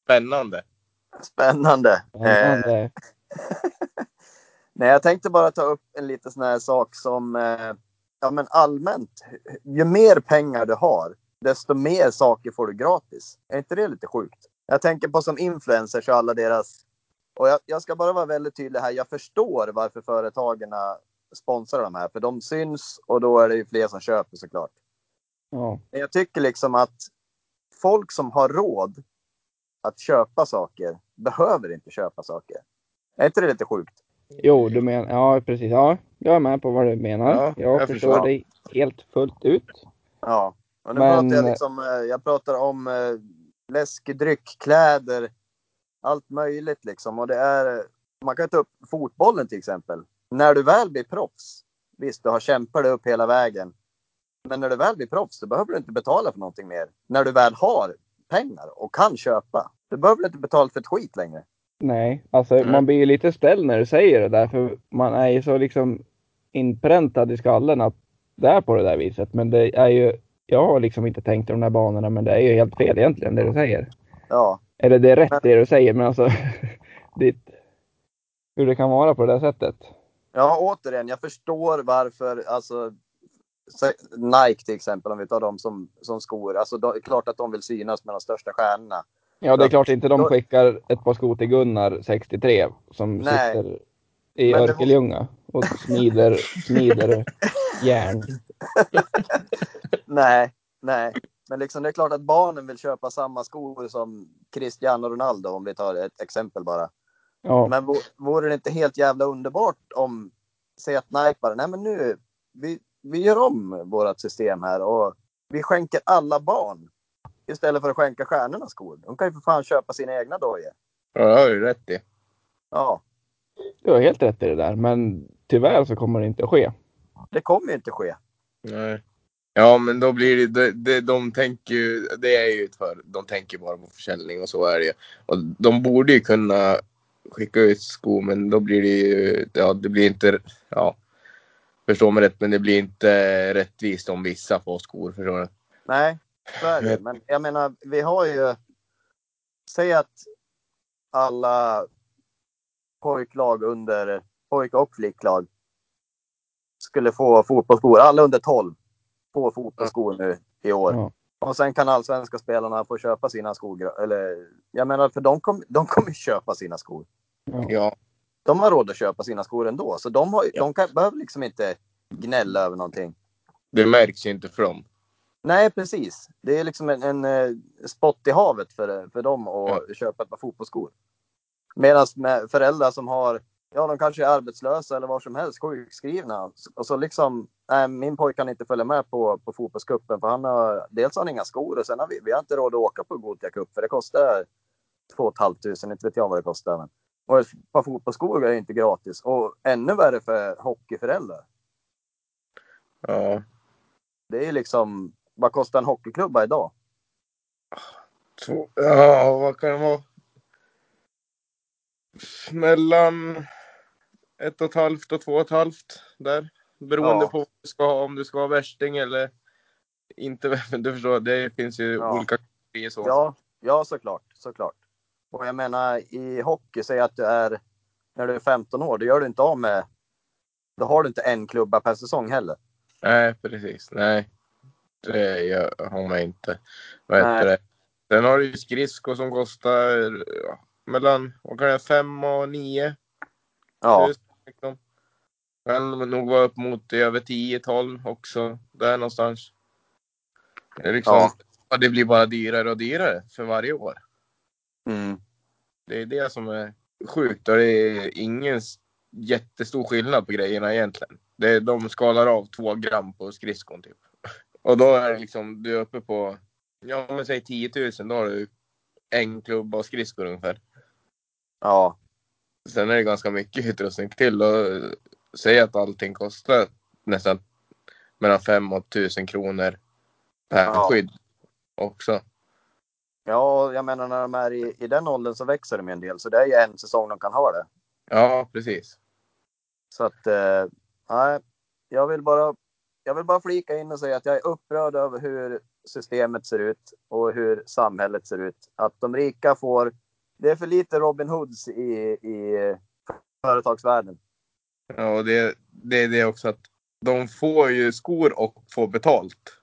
Speaker 3: Spännande.
Speaker 1: Spännande. Eh,
Speaker 2: spännande.
Speaker 1: nej, jag tänkte bara ta upp en liten sån här sak som eh, ja, men allmänt. Ju mer pengar du har, desto mer saker får du gratis. Är inte det lite sjukt? Jag tänker på som influencers och alla deras... Och jag, jag ska bara vara väldigt tydlig här. Jag förstår varför företagen sponsrar de här, för de syns och då är det ju fler som köper såklart.
Speaker 2: Ja,
Speaker 1: Men jag tycker liksom att folk som har råd att köpa saker behöver inte köpa saker. Är inte det lite sjukt?
Speaker 2: jo du menar, ja precis. Ja, jag är med på vad du menar.
Speaker 3: Ja,
Speaker 2: jag,
Speaker 3: jag
Speaker 2: förstår
Speaker 3: förstår.
Speaker 2: dig helt fullt ut.
Speaker 1: Ja. Och nu
Speaker 2: Men-
Speaker 1: pratar jag, liksom, eh, jag pratar om eh, läskedryck, kläder, allt möjligt. Liksom. Och det är, man kan ta upp fotbollen till exempel. När du väl blir proffs, visst du har kämpat dig upp hela vägen. Men när du väl blir proffs, då behöver du inte betala för någonting mer. När du väl har pengar och kan köpa, då behöver du inte betala för ett skit längre.
Speaker 2: Nej, alltså
Speaker 3: Nej.
Speaker 2: man blir ju lite ställd när du säger det där för man är ju så liksom inpräntad i skallen att det är på det där viset. Men det är ju, jag har liksom inte tänkt i de där banorna men det är ju helt fel egentligen det du säger.
Speaker 1: Ja,
Speaker 2: Eller det är [laughs] rätt det du säger men alltså ditt, hur det kan vara på det där sättet.
Speaker 1: Ja, återigen, jag förstår varför, alltså se- Nike till exempel, om vi tar dem som, som skor. Alltså, då, det är klart att de vill synas med de största stjärnorna.
Speaker 2: Ja, det är klart inte de
Speaker 1: Då-
Speaker 2: skickar ett par skor till Gunnar, 63, som
Speaker 1: Nej.
Speaker 2: sitter i
Speaker 1: Men det var-
Speaker 2: Örkelljunga och smider,
Speaker 1: [laughs]
Speaker 2: smider järn.
Speaker 1: Nej, nej. Men liksom, det är klart att barnen vill köpa samma skor som Cristiano Ronaldo, om vi tar ett exempel bara.
Speaker 2: Ja,
Speaker 1: Men vo- vore det inte helt jävla underbart om, säg att Nike bara, nej men nu, vi, vi gör om vårt system här och vi skänker alla barn istället för att skänka stjärnorna skor. De kan ju för fan köpa sina egna dojor.
Speaker 3: Ja, det har du rätt i.
Speaker 1: Ja,
Speaker 2: du har helt rätt i det där, men tyvärr så kommer det inte att ske.
Speaker 1: det kommer ju inte ske.
Speaker 3: Nej. Ja, men då blir det, det, det de tänker ju, det är ju ett för, de tänker bara på försäljning och så är det ju. Och de borde ju kunna skicka ut skor, men då blir det ju, ja det blir inte, ja. Förstå mig rätt, men det blir inte rättvist om vissa får skor, förstår du?
Speaker 1: Nej, så är det. Men jag menar, vi har ju... Säg att alla pojklag under, pojk och flicklag skulle få fotbollsskor. Alla under 12 får fotbollsskor nu i år.
Speaker 2: Ja.
Speaker 1: Och sen kan allsvenska spelarna få köpa sina skor. Eller, jag menar, för de, kom, de kommer köpa sina skor.
Speaker 3: Ja.
Speaker 1: De har råd att köpa sina skor ändå. Så de, har, de kan, behöver liksom inte gnälla över någonting.
Speaker 3: Det märks ju inte för dem.
Speaker 1: Nej, precis. Det är liksom en, en eh, spott i havet för, eh, för dem att köpa ett par fotbollsskor. Medan med föräldrar som har, ja de kanske är arbetslösa eller vad som helst, sjukskrivna. Och så liksom, nej min pojke kan inte följa med på, på fotbollscupen för han har, dels har han inga skor och sen har vi, vi har inte råd att åka på Gothia Cup för det kostar 2 500, inte vet jag vad det kostar. Men. Och ett par fotbollsskor är ju inte gratis. Och ännu värre för hockeyföräldrar.
Speaker 3: Ja.
Speaker 1: Det är ju liksom, vad kostar en hockeyklubba idag?
Speaker 3: Två, ja, vad kan det vara? Mellan ett och ett halvt och två och ett halvt där. Beroende
Speaker 1: Ja.
Speaker 3: på vad du ska ha, om du ska ha värsting eller inte. [laughs] Men Du förstår, det finns ju
Speaker 1: Ja.
Speaker 3: olika kategorier så.
Speaker 1: Ja, ja såklart, såklart. Och jag menar i hockey, säg att du är när du är 15 år, då gör du inte av med. Då har du inte en klubba per säsong heller.
Speaker 3: Nej, precis. Nej, det gör- har man inte. Vad
Speaker 1: Nej.
Speaker 3: heter det? Sen har du ju skridskor som kostar ja, mellan vad kan det, vara, fem och nio.
Speaker 1: Ja,
Speaker 3: tusen, liksom. Kan nog vara upp mot över 10-12 också. Där någonstans. Det, är liksom,
Speaker 1: Ja.
Speaker 3: ja. det blir bara dyrare och dyrare för varje år.
Speaker 1: mm.
Speaker 3: Det är det som är sjukt och det är ingen s- jättestor skillnad på grejerna egentligen. Det är, de skalar av två gram på skridskon typ. [laughs] Och då är det liksom, du är uppe på, ja men säg 10 000, då har du en klubba och skridskor ungefär.
Speaker 1: ja,
Speaker 3: Sen är det ganska mycket utrustning till och eh, säg att allting kostar nästan mellan 5 och 1000 kronor per
Speaker 1: Ja.
Speaker 3: skydd också.
Speaker 1: ja. och Jag menar när de är i, i den åldern så växer de ju en del, så det är ju en säsong de kan ha det.
Speaker 3: Ja, precis.
Speaker 1: Så att eh, nej, jag vill bara. Jag vill bara flika in och säga att jag är upprörd över hur systemet ser ut och hur samhället ser ut. Att de rika får. Det är för lite Robin Hoods i, i företagsvärlden.
Speaker 3: Ja, och det, det är det också att de får ju skor och får betalt.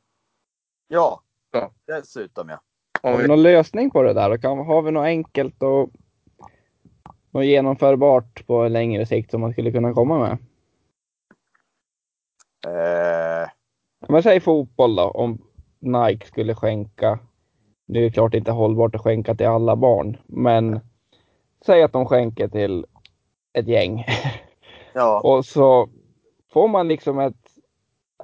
Speaker 1: Ja,
Speaker 3: Ja.
Speaker 1: dessutom ja.
Speaker 2: Har
Speaker 3: Om
Speaker 2: vi
Speaker 3: vi,
Speaker 2: någon lösning på det där? Kan, har vi något enkelt och något genomförbart på längre sikt som man skulle kunna komma med?
Speaker 1: Eh,
Speaker 2: Men säg fotboll då, om Nike skulle skänka, nu är det klart inte hållbart att skänka till alla barn, men säg att de skänker till ett gäng
Speaker 1: ja,
Speaker 2: och så får man liksom ett,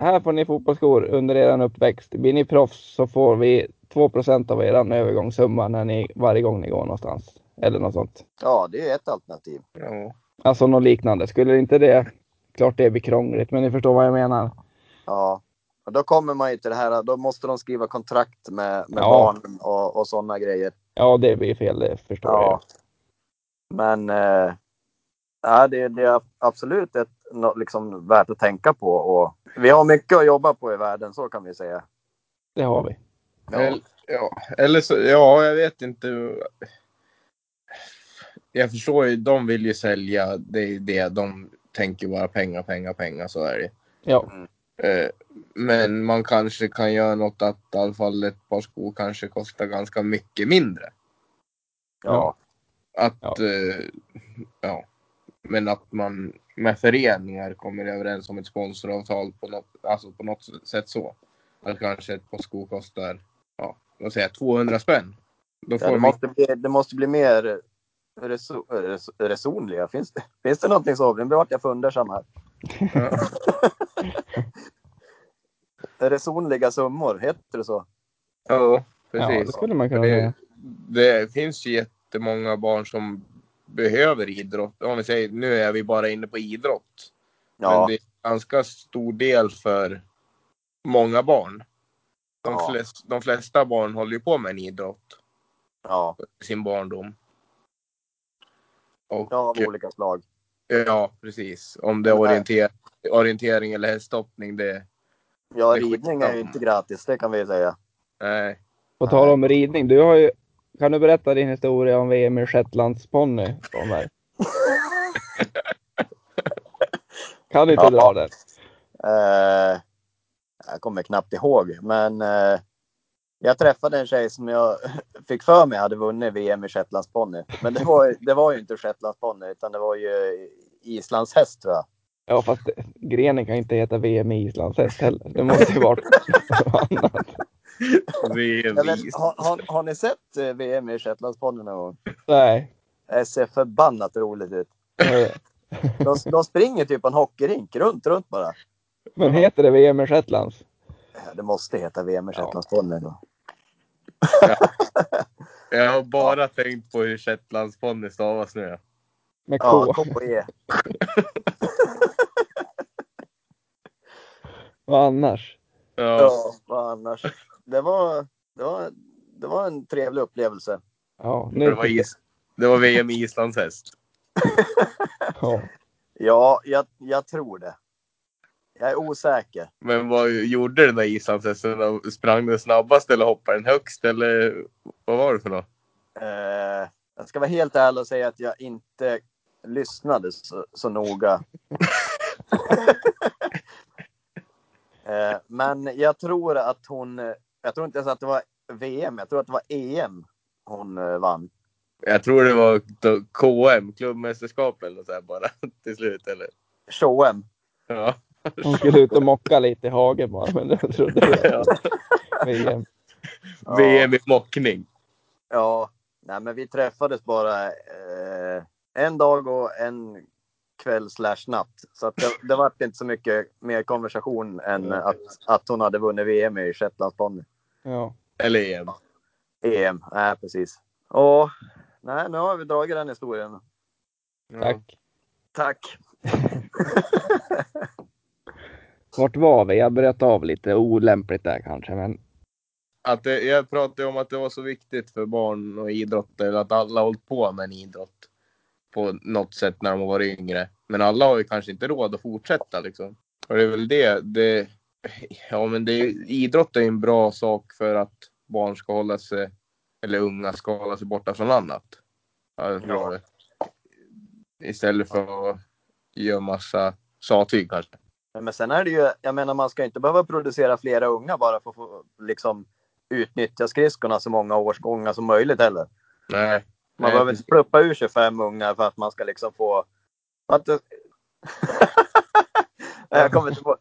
Speaker 2: här får ni fotbollsskor under er uppväxt, blir ni proffs så får vi 2 av er övergångssumma när ni, varje gång ni går någonstans eller något sånt.
Speaker 1: ja, det är ett alternativ.
Speaker 3: ja,
Speaker 2: Alltså något liknande, skulle inte det, klart det blir krångligt men ni förstår vad jag menar.
Speaker 1: Ja, och då kommer man ju till det här. Då måste de skriva kontrakt med, med
Speaker 2: Ja.
Speaker 1: barn och, och sådana grejer.
Speaker 2: Ja det blir fel, det förstår jag.
Speaker 1: Ja. Men eh, ja, det, det är absolut ett, något liksom värt att tänka på. Och vi har mycket att jobba på i världen, så kan vi säga.
Speaker 2: Det har vi.
Speaker 1: Ja,
Speaker 3: Eller, ja, eller så, ja, jag vet inte. Jag förstår ju, de vill ju sälja. Det är det de tänker bara pengar, pengar, pengar. Så är det.
Speaker 2: Ja.
Speaker 3: Eh, Men man kanske kan göra något att i alla fall ett par skor kanske kostar ganska mycket mindre.
Speaker 1: Ja.
Speaker 3: Att,
Speaker 2: Ja.
Speaker 3: eh, ja. Men att man med föreningar kommer överens om ett sponsoravtal på något, alltså på något sätt så. Att kanske ett par skor kostar, ja, vad säger jag, 200 spänn. Då får
Speaker 1: Ja, det,
Speaker 3: vi-
Speaker 1: måste bli, det måste bli mer reso, res, resonliga. Finns det, finns det någonting så? Nu vart jag fundersam här.
Speaker 3: ja.
Speaker 1: Resonliga summor, heter det så?
Speaker 3: ja,
Speaker 2: ja, det
Speaker 3: precis.
Speaker 2: skulle man kunna
Speaker 3: Det-
Speaker 2: säga.
Speaker 3: det finns ju jättemånga barn som behöver idrott. Om vi säger, nu är vi bara inne på idrott. Men
Speaker 1: Ja,
Speaker 3: det är en ganska stor del för många barn. De,
Speaker 1: Ja.
Speaker 3: flest, de flesta barn håller ju på med en idrott
Speaker 1: ja,
Speaker 3: i sin barndom. Och,
Speaker 1: ja, av olika slag.
Speaker 3: ja, precis. Om det är orienter, orientering eller hästhoppning, det...
Speaker 1: Ja,
Speaker 3: Det är
Speaker 1: ridning är ju
Speaker 3: skitsamma.
Speaker 1: inte gratis, det kan vi ju säga.
Speaker 3: Nej.
Speaker 2: På tal om ridning, du har ju... Kan du berätta din historia om VM i shetlandsponny för mig? Kan du inte
Speaker 1: Ja.
Speaker 2: dra den?
Speaker 1: Eh, jag kommer knappt ihåg, men eh, jag träffade en tjej som jag [laughs] fick för mig hade vunnit VM i shetlandsponny. Men det var, det var ju inte shetlandsponny, utan det var ju islandshäst tror jag.
Speaker 2: Ja, fast grenen kan ju inte heta VM i islandshäst heller. Det måste ju vara något annat.
Speaker 1: [laughs]
Speaker 3: Det
Speaker 1: Jag
Speaker 3: är
Speaker 1: vet,
Speaker 3: vis.
Speaker 1: har, har, har ni sett eh, VM i shetlandsponny någon gång?
Speaker 2: Nej.
Speaker 1: Det ser förbannat roligt ut. De, de springer typ på en hockeyrink, runt, runt bara.
Speaker 2: Men heter det VM i shetlands?
Speaker 1: Eh, Det måste heta VM i
Speaker 2: Ja.
Speaker 1: shetlandsponny.
Speaker 3: Jag har bara tänkt på hur shetlandsponny stavas nu.
Speaker 2: Med K?
Speaker 1: Ja, E. KE.
Speaker 2: Vad annars?
Speaker 3: Ja.
Speaker 1: Ja, vad annars. Det var, det, var, det var en trevlig upplevelse.
Speaker 2: Ja,
Speaker 3: Det,
Speaker 2: nu
Speaker 3: var is, det var VM i islandshäst.
Speaker 2: Ja.
Speaker 1: Ja, jag, jag tror det. Jag är osäker.
Speaker 3: Men vad gjorde den där islandshästen? Sprang den snabbast eller hoppade den högst? Eller vad var det för något?
Speaker 1: Eh, jag ska vara helt ärlig och säga att jag inte lyssnade så, så noga. eh, men jag tror att hon... Jag tror inte ens att det var VM, jag tror att det var EM hon eh, vann.
Speaker 3: Jag tror det var då- KM, klubbmästerskap eller något så här bara [laughs] till slut. Eller?
Speaker 1: Show-em.
Speaker 3: Ja.
Speaker 2: Hon skulle ut och mocka lite i hagen bara, men jag trodde det
Speaker 3: Ja.
Speaker 2: var VM.
Speaker 1: Ja.
Speaker 3: VM i mockning.
Speaker 1: Ja, nej, men vi träffades bara eh, en dag och en kväll slash natt. Så att det, det var inte så mycket mer konversation än
Speaker 3: Mm.
Speaker 1: att, att hon hade vunnit VM i shetlandsponny.
Speaker 2: Ja.
Speaker 3: Eller E EM.
Speaker 1: EM, E nej precis. Och, nej, nu har vi dragit den historien.
Speaker 3: Ja.
Speaker 2: Tack.
Speaker 1: Tack!
Speaker 2: Vart var vi? Jag bröt av lite olämpligt där kanske, men
Speaker 3: Att det, jag pratade ju om att det var så viktigt för barn och idrott, eller att alla har hållit på med en idrott på något sätt när de har varit yngre. Men alla har ju kanske inte råd att fortsätta liksom. Och det är väl det. det ja, men det, är- idrott är ju en bra sak för att barn ska hålla sig, eller unga ska hålla sig borta från annat. Ja, det är bra det. Istället för att göra massa sattyg kanske.
Speaker 1: Men sen är det ju, jag menar man ska inte behöva producera flera unga bara för att få, liksom, utnyttja skridskorna så många årsgångar som möjligt heller.
Speaker 3: Nej.
Speaker 1: Man
Speaker 3: Nej,
Speaker 1: behöver inte pluppa ur 25 ungar för att man ska liksom få... Att [laughs] det... nej, jag kommer inte på.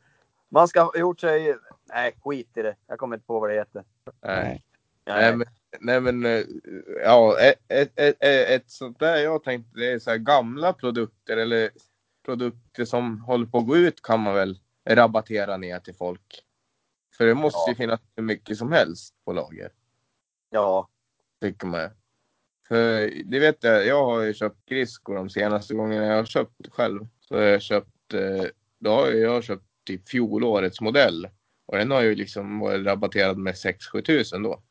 Speaker 1: Man ska ha gjort sig... Nej, skit i det. Jag kommer inte på vad det heter.
Speaker 3: Nej.
Speaker 1: Nej,
Speaker 3: Nej men, nej, men eh, ja, ett, ett, ett, ett sånt där jag tänkte det är så här gamla produkter eller produkter som håller på att gå ut kan man väl rabattera ner till folk. För det måste ju finnas hur mycket som helst på lager,
Speaker 1: ja.
Speaker 3: tycker man. För det vet jag, jag har ju köpt skridskor de senaste gångerna jag har köpt själv. Så har jag köpt, eh, då har jag, jag har köpt typ fjolårets modell. Och den har ju liksom varit rabatterad med 6-7 tusen då.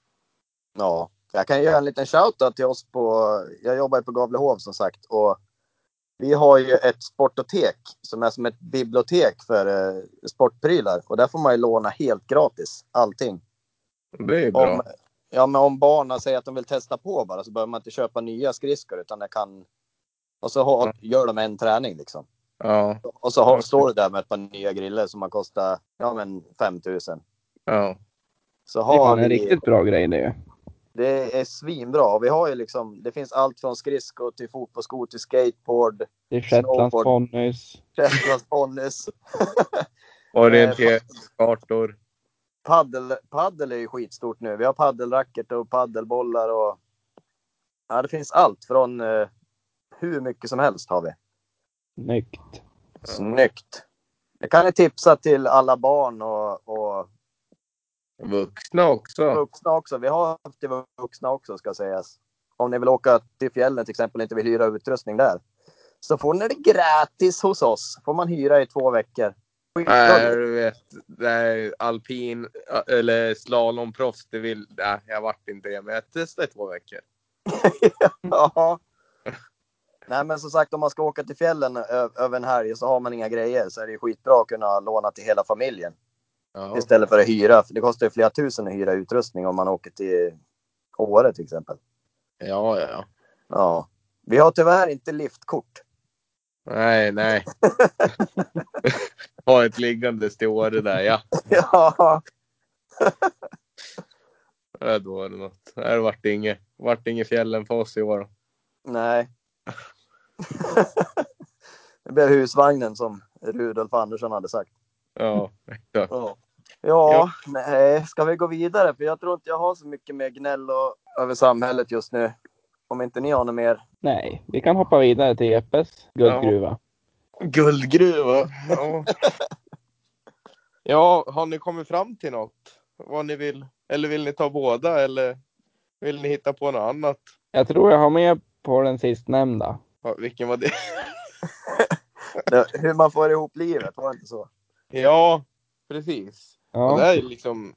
Speaker 1: ja. Jag kan göra en liten shoutout till oss på... Jag jobbar ju på Gavlehov som sagt. Och vi har ju ett sportotek som är som ett bibliotek för eh, sportprylar. Och där får man ju låna helt gratis allting.
Speaker 3: Det är ju bra.
Speaker 1: Om, ja, men om barnen säger att de vill testa på bara så
Speaker 2: Mm.
Speaker 1: behöver man inte köpa nya skridskor utan det kan... Och så har, gör de en träning liksom.
Speaker 3: Ja,
Speaker 1: Och så har, står du där med ett par nya griller som har kostat ja, men 5000.
Speaker 3: ja.
Speaker 1: Så
Speaker 2: Det är
Speaker 1: har
Speaker 2: fan en
Speaker 1: vi,
Speaker 2: riktigt bra grej det ju.
Speaker 1: det är svinbra. Vi har ju liksom, det finns allt från skridskor till fotbollsskor till skateboard, [laughs]
Speaker 2: Det är Shetlands
Speaker 1: Snowboard.
Speaker 2: ponnys.
Speaker 1: träffglassponnys,
Speaker 3: Eh, Orienteringskartor.
Speaker 1: paddel, paddel är ju skitstort nu. Vi har paddelracket och paddelbollar och ja, det finns allt från eh, hur mycket som helst har vi.
Speaker 2: Snyggt.
Speaker 1: Snyggt! Det kan ni tipsa till alla barn och, och
Speaker 3: Vuxna också.
Speaker 1: vuxna också. Vi har haft till vuxna också ska sägas. Om ni vill åka till fjällen till exempel och inte vill hyra utrustning där. Så får ni det gratis hos oss. får man hyra i två veckor.
Speaker 3: Nej,
Speaker 1: Skitbra.
Speaker 3: du vet. Nej, alpin eh, eller slalomproffs, det vill... Nej, jag vart inte det. Men jag testade i två veckor.
Speaker 1: [laughs] Ja. Nej men som sagt om man ska åka till fjällen ö- över en helg så har man inga grejer så är det ju skitbra att kunna låna till hela familjen.
Speaker 3: Ja.
Speaker 1: Istället för att hyra. För det kostar ju flera tusen att hyra utrustning om man åker till Åre till exempel.
Speaker 3: ja, ja, ja.
Speaker 1: Ja. Vi har tyvärr inte liftkort. [laughs]
Speaker 3: Nej, [laughs] nej. ha ett liggandes till Åre där, ja.
Speaker 1: Ja.
Speaker 3: Ja, Då var det något. Det vart inget. Vart inget fjällen för oss i år.
Speaker 1: Nej. [laughs] Det blev husvagnen som Rudolf Andersson hade sagt.
Speaker 3: Ja, exakt.
Speaker 1: Ja,
Speaker 3: Ja.
Speaker 1: nej, ska vi gå vidare? För jag tror inte jag har så mycket mer gnäll och, över samhället just nu. Om inte ni har något mer.
Speaker 2: Nej, vi kan hoppa vidare till Jeppes guldgruva.
Speaker 3: Guldgruva. Ja. ja, har ni kommit fram till något? Vad ni vill? Eller vill ni ta båda eller vill ni hitta på något annat?
Speaker 2: Jag tror jag har med på den sistnämnda.
Speaker 3: Ja, vilken var det? [laughs]
Speaker 1: Det- Hur man får ihop livet, var det inte så?
Speaker 3: Ja, precis. Och Det
Speaker 2: Ja,
Speaker 3: är liksom,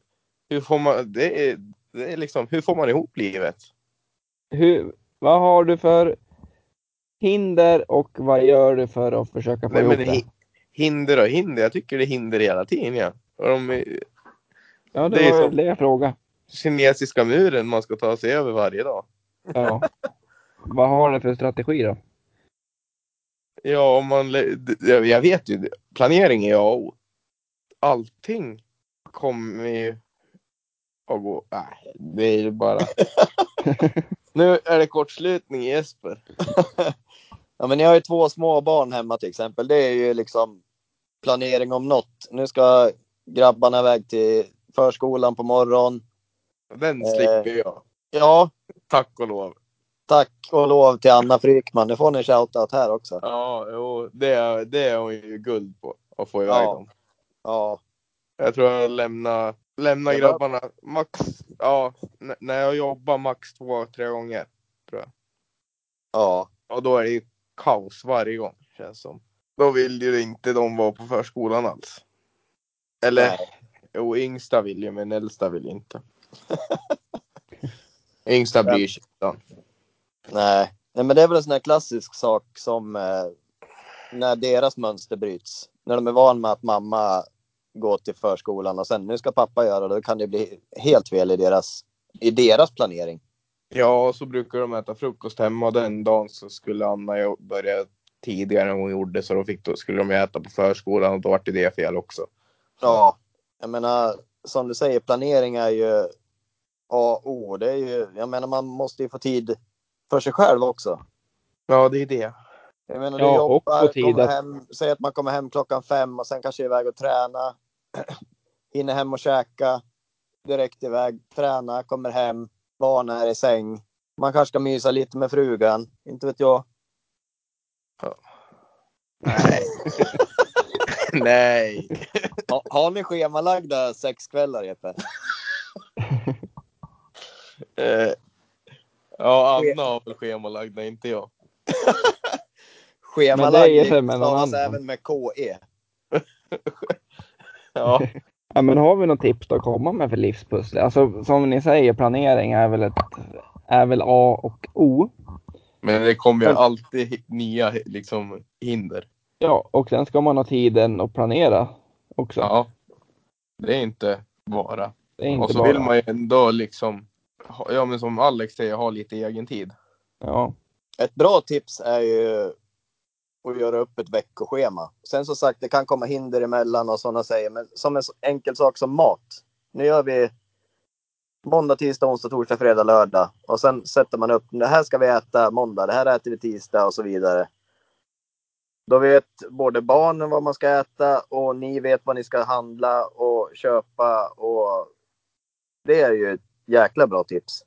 Speaker 3: hur får man, det är, det är liksom, hur får man ihop livet?
Speaker 2: hur, vad har du för hinder och vad gör du för att försöka få
Speaker 3: Nej,
Speaker 2: ihop
Speaker 3: men
Speaker 2: det?
Speaker 3: hi- hinder och hinder. Jag tycker det är hinder hela tiden. Ja. Och de eh, är-
Speaker 2: Ja,
Speaker 3: det
Speaker 2: det
Speaker 3: är
Speaker 2: var
Speaker 3: så.
Speaker 2: väl det jag frågade.
Speaker 3: kinesiska muren man ska ta sig över varje dag.
Speaker 2: Ja. vad har du för strategi då?
Speaker 3: Ja, om man, lä- d- jag jag vet ju, planering är A och O. Allting kommer ju att gå... Nej, det är ju [laughs] bara... nu är det kortslutning i Jesper.
Speaker 1: Ja, men ni har ju två små barn hemma till exempel. Det är ju liksom planering om något. Nu ska grabbarna iväg till förskolan på morgonen.
Speaker 3: Den
Speaker 1: Eh.
Speaker 3: slipper jag,
Speaker 1: Ja,
Speaker 3: tack och lov.
Speaker 1: tack och lov till Anna Frykman. Det får ni en shoutout här också.
Speaker 3: Ja, jo, det, är, det är hon ju guld på, att få iväg
Speaker 1: Ja.
Speaker 3: dem.
Speaker 1: Ja,
Speaker 3: Jag tror jag lämnar lämna
Speaker 1: Det var-
Speaker 3: grabbarna max, ja, n- när jag jobbar max två, tre gånger.
Speaker 1: ja.
Speaker 3: Och då är det ju kaos varje gång känns som. Då vill ju inte de vara på förskolan alls. Eller
Speaker 1: Nej.
Speaker 3: jo, yngsta vill ju men äldsta vill inte. [laughs] yngsta bryr sig inte.
Speaker 1: Nej. Nej, men det är väl en sån här klassisk sak som eh, när deras mönster bryts. När de är van med att mamma går till förskolan och sen nu ska pappa göra det. Då kan det bli helt fel i deras, i deras planering.
Speaker 3: Ja, och så brukar de äta frukost hemma. Den dagen så skulle Anna jo- börja tidigare än hon gjorde så då, fick, då skulle de ju äta på förskolan och då vart ju det fel också.
Speaker 1: Ja. Jag menar, som du säger, planering är ju A och O. Det är ju, jag menar, man måste ju få tid för sig själv också.
Speaker 3: Ja, det är det.
Speaker 1: Jag menar,
Speaker 2: Ja,
Speaker 1: du
Speaker 2: och
Speaker 1: jobbar,
Speaker 2: på tid
Speaker 1: kommer
Speaker 2: att-
Speaker 1: hem, säg att man kommer hem klockan fem och sen kanske är iväg och träna. [clears throat] Hinner hem och käka. Direkt iväg, träna, kommer hem, barnen är i säng. Man kanske ska mysa lite med frugan, inte vet jag.
Speaker 3: [laughs] Nej. Nej.
Speaker 1: [laughs] Ha, har ni schemalagda sexkvällar, Jeppe?
Speaker 3: Eh, ja, Anna har väl schemalagd, nej inte jag.
Speaker 1: Schemalagd
Speaker 2: Men det är ju för mellan
Speaker 1: stavas
Speaker 2: annan.
Speaker 1: även med E. KE.
Speaker 3: Ja.
Speaker 2: Ja, men har vi något tips att komma med för livspussel? Alltså som ni säger, planering är väl, ett, är väl A och O.
Speaker 3: Men det kommer ju
Speaker 2: Men-
Speaker 3: alltid hi- nya liksom, hinder.
Speaker 2: Ja, och sen ska man ha tiden att planera också.
Speaker 3: Ja. Det är inte bara.
Speaker 2: det är inte
Speaker 3: Och så
Speaker 2: bara...
Speaker 3: vill man ju ändå liksom, ha- ja men som Alex säger, ha lite egen tid.
Speaker 2: Ja,
Speaker 1: Ett bra tips är ju och göra upp ett veckoschema. Sen som sagt, det kan komma hinder emellan och sådana säger, men som en så enkel sak som mat. Nu gör vi måndag, tisdag, onsdag, torsdag, fredag, lördag och sen sätter man upp. Det här ska vi äta måndag, det här äter vi tisdag och så vidare. Då vet både barnen vad man ska äta och ni vet vad ni ska handla och köpa och det är ju ett jäkla bra tips.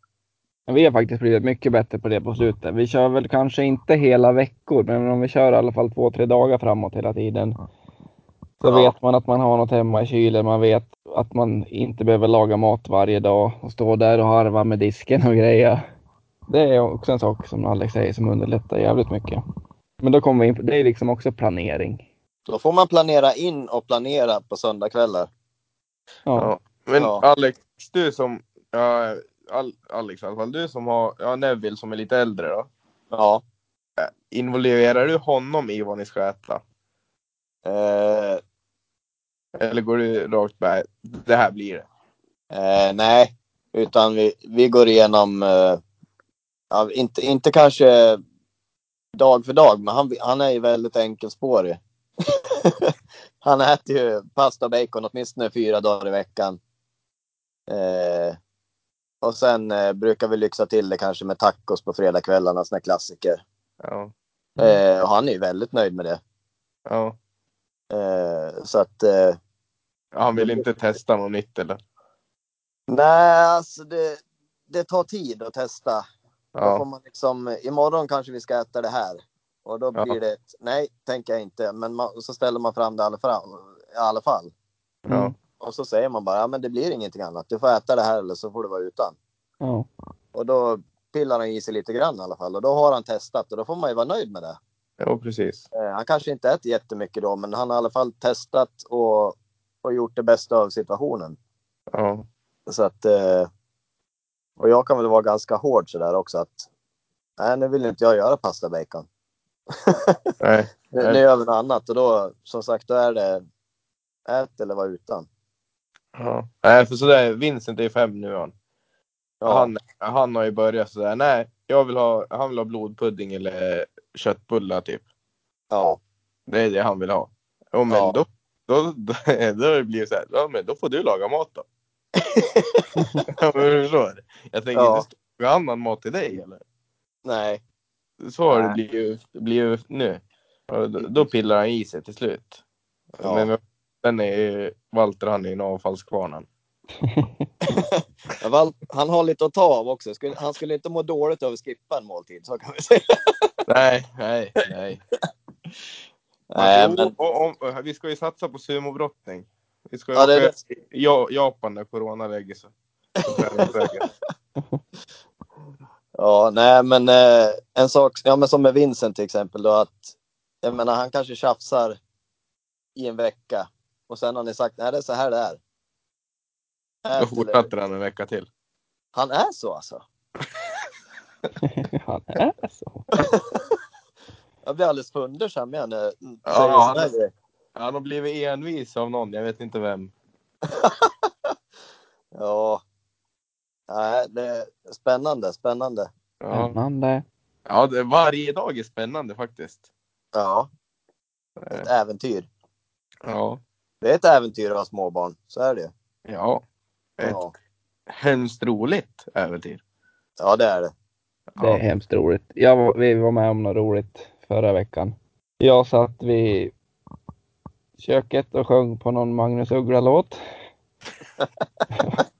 Speaker 2: Men Vi har faktiskt blivit mycket bättre på det på slutet. Vi kör väl kanske inte hela veckor, men om vi kör i alla fall två, tre dagar framåt hela tiden. Så
Speaker 1: Ja.
Speaker 2: vet man att man har något hemma i kylen. Man vet att man inte behöver laga mat varje dag och stå där och harva med disken och grejer. Det är också en sak som Alex säger som underlättar jävligt mycket. Men då kommer vi in på, det är liksom också planering.
Speaker 1: Då får man planera in och planera på söndagkvällar.
Speaker 2: Ja.
Speaker 3: Ja. Men
Speaker 1: Ja.
Speaker 3: Alex, du som... Ja, Al- Alex i alla fall, du som har ja, Neville som är lite äldre då.
Speaker 1: Ja.
Speaker 3: Involverar du honom i vad ni ska äta?
Speaker 1: Eh,
Speaker 3: Eller går du rakt med det här blir det?
Speaker 1: eh, nej, utan vi, vi går igenom, eh, ja, inte, inte kanske dag för dag, men han, han är ju väldigt enkelspårig. [laughs] han äter ju pasta och bacon åtminstone fyra dagar i veckan. Eh, och sen eh, brukar vi lyxa till det kanske med tacos på fredagskvällarna, såna här klassiker.
Speaker 3: Ja.
Speaker 1: Eh, och han är ju väldigt nöjd med det.
Speaker 3: ja.
Speaker 1: Eh, så att eh,
Speaker 3: Han vill inte testa något nytt eller?
Speaker 1: Nej, alltså det, det tar tid att testa. Då får
Speaker 3: Ja.
Speaker 1: man liksom, imorgon kanske vi ska äta det här. Och då
Speaker 3: Ja.
Speaker 1: blir det ett, nej, tänker jag inte. Men man, så ställer man fram det i alla fall- i alla fall.
Speaker 2: Mm.
Speaker 3: ja.
Speaker 1: Och så säger man bara, ja, men det blir ingenting annat. Du får äta det här eller så får du vara utan.
Speaker 2: ja. [laughs]
Speaker 1: Och då pillar han i sig lite grann i alla fall. Och då har han testat och då får man ju vara nöjd med det.
Speaker 3: Jo, precis.
Speaker 1: Eh, han kanske inte äter jättemycket då, men han har i alla fall testat och, och gjort det bästa av situationen.
Speaker 3: Ja.
Speaker 1: Så att, eh, och jag kan väl vara ganska hård sådär också att nej, nu vill inte jag göra pasta bacon.
Speaker 3: Nej.
Speaker 1: Nu,
Speaker 3: Nej.
Speaker 1: nu gör vi något annat och då som sagt då är det ät eller var utan.
Speaker 3: Ja. Nej, för sådär, Vincent är ju fem nu han.
Speaker 1: Ja,
Speaker 3: Han, han har ju börjat sådär, nej, jag vill ha, han vill ha blodpudding eller köttbullar typ.
Speaker 1: ja,
Speaker 3: Det är det han vill ha. Ja, men
Speaker 1: Ja.
Speaker 3: Då, då, då, [laughs] då blir det så här, ja, men då får du laga mat
Speaker 1: [laughs]
Speaker 3: då. ja, men du förstår. Jag tänker
Speaker 1: Ja.
Speaker 3: inte laga annan mat till dig eller?
Speaker 1: nej,
Speaker 3: Så har
Speaker 1: Nej.
Speaker 3: det
Speaker 1: Mm.
Speaker 3: blivit ju, blir ju nu. Och Då, då pillar han i sig till slut.
Speaker 1: Ja.
Speaker 3: Men sen är ju Walter, han är ju en avfallskvarn han.
Speaker 1: Men Val- han har lite att ta av också. Skulle, han skulle inte må dåligt av att skippa en måltid, så kan vi säga.
Speaker 3: Nej, nej, nej.
Speaker 1: Nej,
Speaker 3: Jo,
Speaker 1: men
Speaker 3: och, Alltså, om- vi ska ju satsa på sumobrottning. Vi ska ju
Speaker 1: ja, det, är
Speaker 3: åka
Speaker 1: det,
Speaker 3: till Ja- Japan när corona lägger sig.
Speaker 1: [laughs]
Speaker 3: Så träningsläger.
Speaker 1: ja, nej, men eh, en sak, ja, men som med Vincent till exempel då att jag menar, han kanske tjafsar i en vecka och sen har ni sagt nej, det är så här det är.
Speaker 3: Då
Speaker 1: Ät eller-
Speaker 3: fortsätter han en vecka till.
Speaker 1: Han är så alltså?
Speaker 2: Han är så.
Speaker 1: Jag blir alldeles fundersam igen när du
Speaker 3: Ja,
Speaker 1: säger
Speaker 3: han-
Speaker 1: sån här grej.
Speaker 3: Han har blivit envis av någon, jag vet inte vem.
Speaker 1: Ja. Nej, det är spännande, spännande. Mm.
Speaker 3: Ja,
Speaker 2: Spännande.
Speaker 3: ja det, varje dag är spännande faktiskt.
Speaker 1: Ja.
Speaker 3: Eh.
Speaker 1: Ett äventyr.
Speaker 3: Ja,
Speaker 1: Det är ett äventyr att ha småbarn, så är det ju.
Speaker 3: ja. Ett
Speaker 1: Ja.
Speaker 3: hemskt roligt äventyr.
Speaker 1: ja, det
Speaker 3: [clears throat]
Speaker 1: är det.
Speaker 2: Det är
Speaker 3: Ja.
Speaker 2: hemskt roligt. Jag var, vi var med om något roligt förra veckan. Jag satt vid köket och sjöng på någon Magnus Uggla-låt.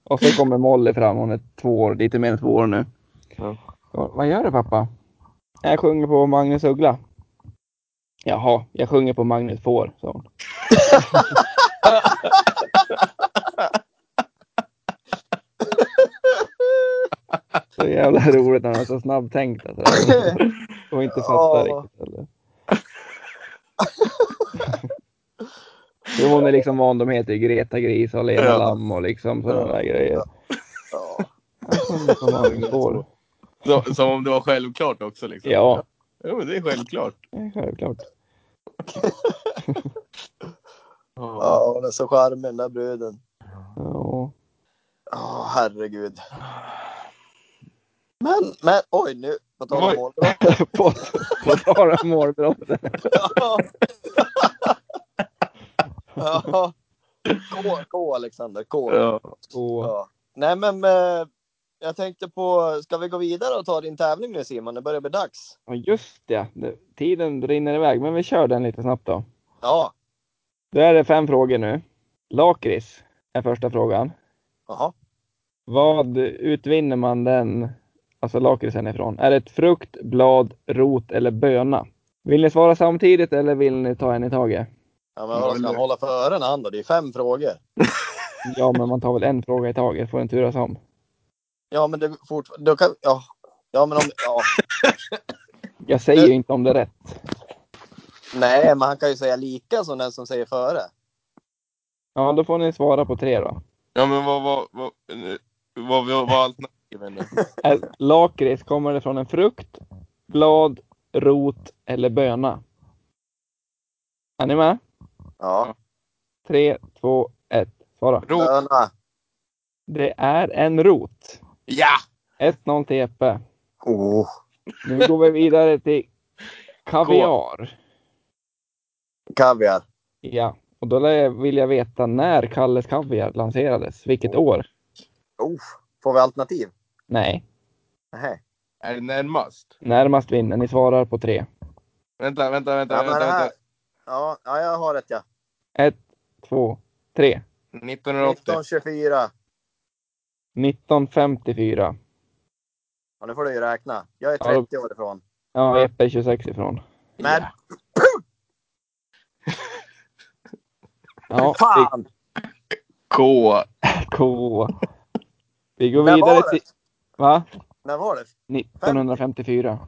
Speaker 2: och så kommer Molly fram, hon är två år, lite mer än två år nu.
Speaker 3: Ja.
Speaker 2: Och, Vad gör du pappa? Jag sjunger på Magnus Uggla. Jaha, jag sjunger på Magnus Får, sa [laughs] hon. Så jävla roligt när man är så snabbtänkt alltså. och inte fattar
Speaker 1: Ja.
Speaker 2: riktigt. Eller? Jo, hon är liksom van, de heter ju Greta Gris och Lena
Speaker 3: Ja.
Speaker 2: Lamm och liksom sådana där grejer.
Speaker 1: Ja.
Speaker 2: Som man får.
Speaker 3: Så, som om det var självklart också liksom.
Speaker 2: Ja,
Speaker 3: Jo, men det är självklart.
Speaker 2: det är självklart.
Speaker 3: Ja.
Speaker 1: ja, hon är så charmig den där bruden.
Speaker 2: Ja. [laughs]
Speaker 1: Ja, herregud. Men, men oj, nu På tal om
Speaker 3: Oj.
Speaker 1: målbrott.
Speaker 2: på, på tal om målbrottet.
Speaker 1: [laughs] Ja. Ja. K, K Alexander, K.
Speaker 3: Ja.
Speaker 2: Och,
Speaker 1: Ja. Nej men eh, jag tänkte på, ska vi gå vidare och ta din tävling nu Simon? Det börjar bli dags.
Speaker 2: och just det, det, tiden rinner iväg. Men vi kör den lite snabbt då.
Speaker 1: Ja,
Speaker 2: Då är det fem frågor nu. Lakrits är första frågan.
Speaker 1: jaha.
Speaker 2: Vad utvinner man den, alltså lakritsen ifrån? Är det ett frukt, blad, rot eller böna? Vill ni svara samtidigt eller vill ni ta en i taget?
Speaker 1: Ja, men vad ska han
Speaker 3: Eller-
Speaker 1: hålla för öronen han då? Det är fem frågor.
Speaker 2: Ja, men man tar väl en fråga i taget, får en turas om.
Speaker 1: Ja men det är fortfarande, då kan, ja. Ja men om, ja.
Speaker 2: Jag säger ju inte om det är rätt.
Speaker 1: Nej men han kan ju säga lika som den som säger före.
Speaker 2: Ja, då får ni svara på tre då.
Speaker 3: ja, men vad var vad, nu- vad, vad, vad
Speaker 1: [laughs]
Speaker 3: alternativen nu?
Speaker 2: Är- Lakrits, kommer det från en frukt, blad, rot eller böna? Är ni med?
Speaker 1: Ja.
Speaker 2: Tre, två, ett. Svara.
Speaker 3: Ro-
Speaker 1: Böna.
Speaker 2: Det är en rot.
Speaker 3: Ja!
Speaker 2: 1-0 till Eppe.
Speaker 1: Oh.
Speaker 2: Nu går vi vidare till kaviar.
Speaker 1: Kaviar.
Speaker 2: Ja, och då lär jag- vill jag veta när Kalles Kaviar lanserades. Vilket år?
Speaker 1: Oh. Får vi alternativ?
Speaker 2: Nej,
Speaker 1: Nej.
Speaker 3: Är det närmast?
Speaker 2: närmast vinner. Ni svarar på tre.
Speaker 3: Vänta, vänta, vänta.
Speaker 1: Ja, men det
Speaker 3: vänta,
Speaker 1: här.
Speaker 3: vänta.
Speaker 1: Ja, ja, jag har rätt ja.
Speaker 2: Ett, två, tre.
Speaker 3: 1980.
Speaker 1: 1924.
Speaker 2: 1954.
Speaker 1: Ja, nu får du ju räkna. Jag är
Speaker 2: Ja, då-
Speaker 1: 30 år ifrån.
Speaker 2: Ja, Eppe är 26 ifrån.
Speaker 1: Men
Speaker 2: Ja, vi-
Speaker 1: fan!
Speaker 3: K.
Speaker 2: K. Vi går
Speaker 1: När
Speaker 2: vidare
Speaker 1: var det?
Speaker 2: till... Va?
Speaker 1: När var det?
Speaker 2: 1954.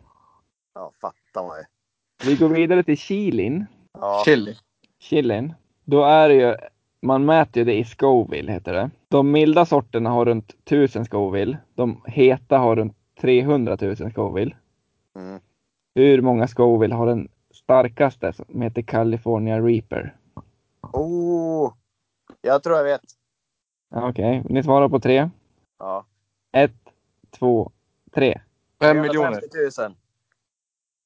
Speaker 1: Ja, fattar man ju.
Speaker 2: Vi går vidare till Kilin.
Speaker 1: Ja.
Speaker 3: Chili.
Speaker 2: Chilin. Då är det ju... Man mäter ju det i Scoville, heter det. De milda sorterna har runt 1000 Scoville. De heta har runt 300 000 Scoville.
Speaker 1: Mm.
Speaker 2: Hur många Scoville har den starkaste som heter California Reaper?
Speaker 1: Oh, jag tror jag vet.
Speaker 2: Ja, Okej, ni svarar på tre.
Speaker 1: Ja.
Speaker 2: Ett, två, tre.
Speaker 3: Fem miljoner.
Speaker 1: 350 000.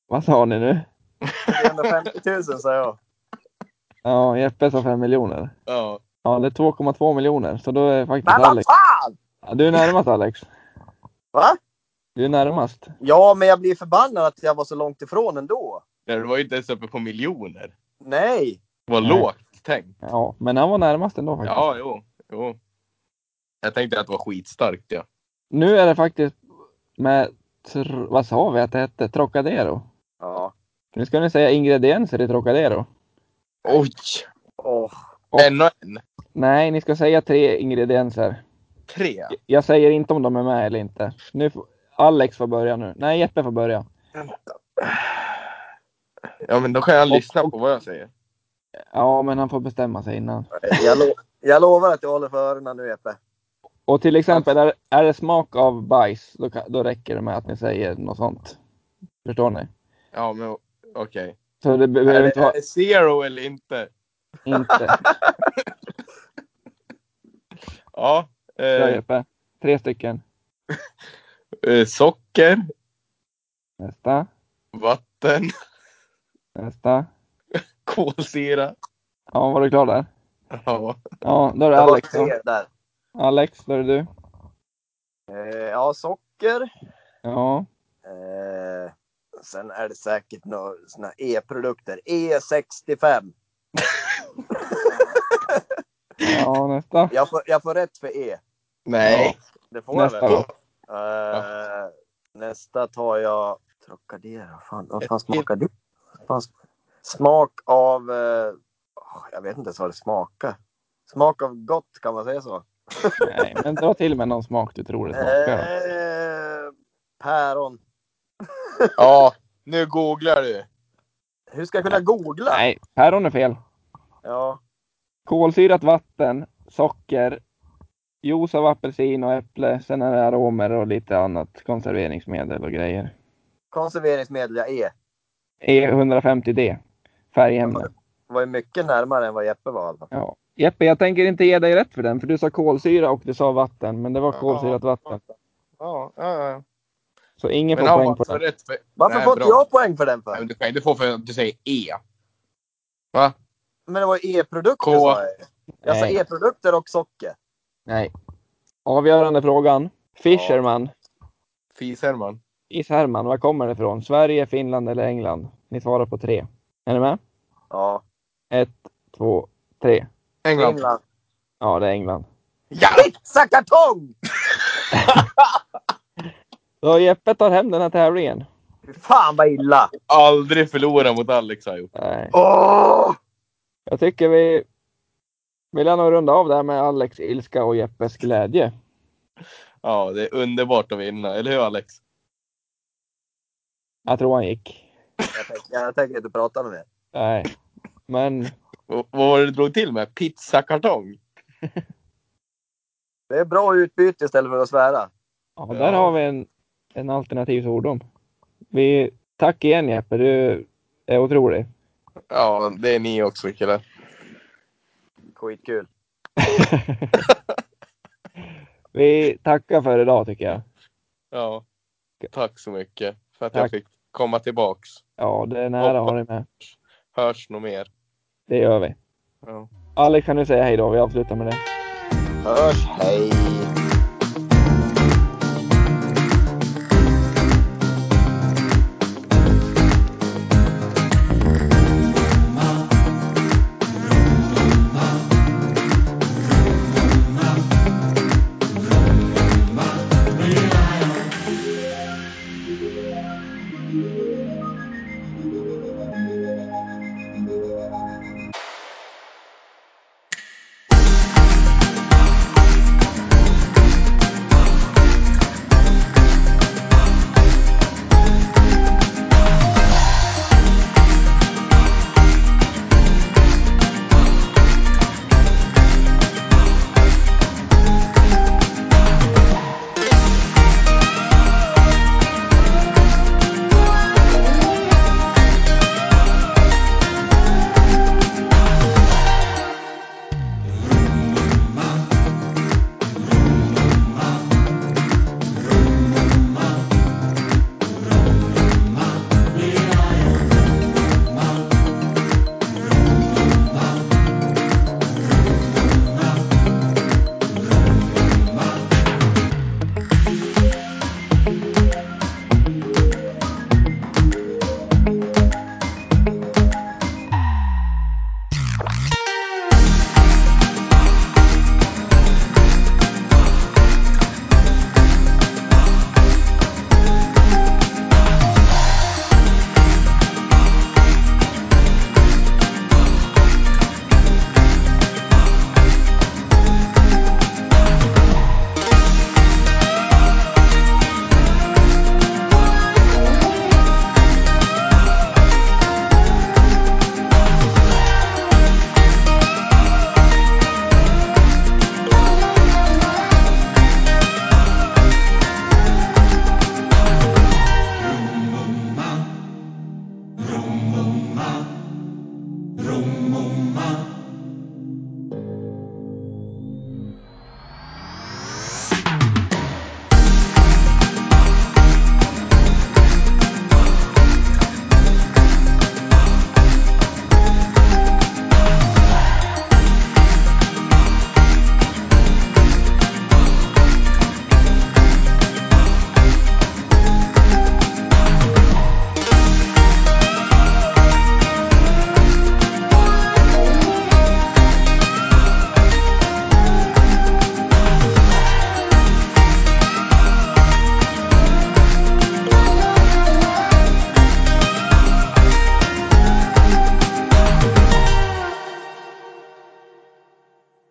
Speaker 2: Vad sa ni nu?
Speaker 1: 350 000 sa jag.
Speaker 2: Ja, Jeppe sa fem miljoner.
Speaker 3: Ja.
Speaker 2: Ja, det är 2,2 miljoner, så då är faktiskt
Speaker 1: Men vad
Speaker 2: Alex.
Speaker 1: fan!
Speaker 2: Ja, Du är närmast Alex.
Speaker 1: Va?
Speaker 2: Du är närmast.
Speaker 1: Ja, men jag blir förbannad att jag var så långt ifrån ändå.
Speaker 3: Det var ju inte ens uppe på miljoner.
Speaker 1: Nej!
Speaker 3: Vad
Speaker 2: Nej.
Speaker 3: lågt tänkt.
Speaker 2: Ja, men han var närmast ändå faktiskt.
Speaker 3: Ja, jo. jo. Jag tänkte att det var skitstarkt. Ja.
Speaker 2: Nu är det faktiskt med, tr- vad sa vi att det hette? Trocadero.
Speaker 1: Ja.
Speaker 2: Nu ska ni säga ingredienser i Trocadero.
Speaker 3: Oj!
Speaker 1: Åh.
Speaker 3: En och en.
Speaker 2: Nej, ni ska säga tre ingredienser.
Speaker 3: Tre.
Speaker 2: Jag säger inte om de är med eller inte. Nu får Alex får börja nu. Nej, Jeppe får börja.
Speaker 3: Ja, men då kan jag
Speaker 2: Och-
Speaker 3: lyssna på vad jag säger.
Speaker 2: Ja, men han får bestämma sig innan.
Speaker 1: Jag, lo- jag lovar att jag håller för öronen nu, Eppe.
Speaker 2: Och till exempel, är, är det smak av bajs, då, kan, då räcker det med att ni säger något sånt. Förstår ni?
Speaker 3: Ja, men okej.
Speaker 2: Så det
Speaker 3: Är,
Speaker 2: behöver
Speaker 3: det-
Speaker 2: inte
Speaker 3: är
Speaker 2: vara
Speaker 3: det zero eller inte?
Speaker 2: [laughs] inte.
Speaker 3: Ja.
Speaker 2: Bra
Speaker 3: Eh,
Speaker 2: Jeppe. Tre stycken.
Speaker 3: eh, socker,
Speaker 2: Nästa.
Speaker 3: vatten, [laughs]
Speaker 2: Nästa.
Speaker 3: kolsyra.
Speaker 2: Ja, var du klar där?
Speaker 3: Ja.
Speaker 2: Ja, då är
Speaker 1: Det
Speaker 2: det
Speaker 1: var
Speaker 2: Alex. då.
Speaker 1: tre där.
Speaker 2: Alex, då är det du.
Speaker 1: Eh, ja, socker.
Speaker 2: Ja,
Speaker 1: Eh, sen är det säkert några såna e-produkter. E E65.
Speaker 2: ja nästa.
Speaker 1: Jag får, jag får rätt för e.
Speaker 3: Nej.
Speaker 1: Det får
Speaker 2: Nästa
Speaker 1: jag väl?
Speaker 2: då.
Speaker 1: Eh, nästa tar jag Trocadero. Fan, vad fan smakar det? Fan, sm- smak av... Eh, åh, jag vet inte ens vad det smakar. Smak av gott, kan man säga så?
Speaker 2: Nej, men dra till med någon smak du tror det smakar.
Speaker 1: Eh, päron.
Speaker 3: Ja, nu googlar du.
Speaker 1: Hur ska jag kunna googla?
Speaker 2: Nej, päron är fel.
Speaker 1: Ja,
Speaker 2: Kolsyrat vatten, socker, juice av apelsin och äpple. Sen är det aromer och lite annat konserveringsmedel och grejer.
Speaker 1: konserveringsmedel, ja, e.
Speaker 2: E150D. Färgämne.
Speaker 1: Det var ju mycket närmare än vad Jeppe var. i alla fall.
Speaker 2: Ja. Jeppe, jag tänker inte ge dig rätt för den, för du sa kolsyra och du sa vatten, men det var
Speaker 3: Ja.
Speaker 2: kolsyrat vatten.
Speaker 3: Ja, ja, ja.
Speaker 2: Så ingen
Speaker 3: Men
Speaker 2: får
Speaker 3: han
Speaker 2: poäng
Speaker 3: var
Speaker 2: på
Speaker 3: alltså
Speaker 2: det.
Speaker 3: rätt för...
Speaker 1: Varför
Speaker 3: Nej,
Speaker 1: får
Speaker 3: bra.
Speaker 1: inte jag poäng för den
Speaker 4: Nej, men
Speaker 1: för?
Speaker 4: du kan ju inte få för att du säger E.
Speaker 1: Men det var ju
Speaker 4: K.
Speaker 1: e-produkter sa jag. Jag sa
Speaker 2: Nej.
Speaker 1: e-produkter och socker.
Speaker 2: Nej. Avgörande frågan. Fisherman.
Speaker 3: Fis-Herman.
Speaker 2: Is Herman, var kommer det ifrån? Sverige, Finland eller England? Ni svarar på tre. Är ni med?
Speaker 1: Ja.
Speaker 2: Ett, två, tre.
Speaker 3: England.
Speaker 1: Finland.
Speaker 2: Ja, det är England.
Speaker 4: Ja!
Speaker 1: Pizza kartong!
Speaker 2: Så Jeppe tar hem den här tävlingen.
Speaker 1: Fy Fan vad illa!
Speaker 3: Aldrig förlora mot Alex har jag gjort.
Speaker 2: Nej.
Speaker 1: Åh!
Speaker 2: Jag tycker vi vill jag nog runda av det här med Alex ilska och Jeppes glädje.
Speaker 3: Ja, det är underbart att vinna. Eller hur Alex?
Speaker 2: Jag tror han gick.
Speaker 1: Jag tänker, jag tänker inte prata med er.
Speaker 2: Nej. Men
Speaker 3: Och, vad var det du drog till med? Pizzakartong?
Speaker 1: Det är bra utbyte istället för att svära.
Speaker 2: ja, där har vi en, en alternativ svordom. Vi, tack igen Jeppe, du är otrolig.
Speaker 3: Ja, det är ni också killar.
Speaker 1: Skitkul.
Speaker 2: [laughs] Vi tackar för idag tycker jag.
Speaker 3: Ja. Tack så mycket för att jag
Speaker 2: Tack.
Speaker 3: fick komma tillbaks.
Speaker 2: Ja, det är nära att ha dig med.
Speaker 3: Hörs nog mer.
Speaker 2: Det gör vi.
Speaker 3: Ja.
Speaker 2: Alex kan du säga hej då, vi avslutar med det.
Speaker 1: Hörs, hej!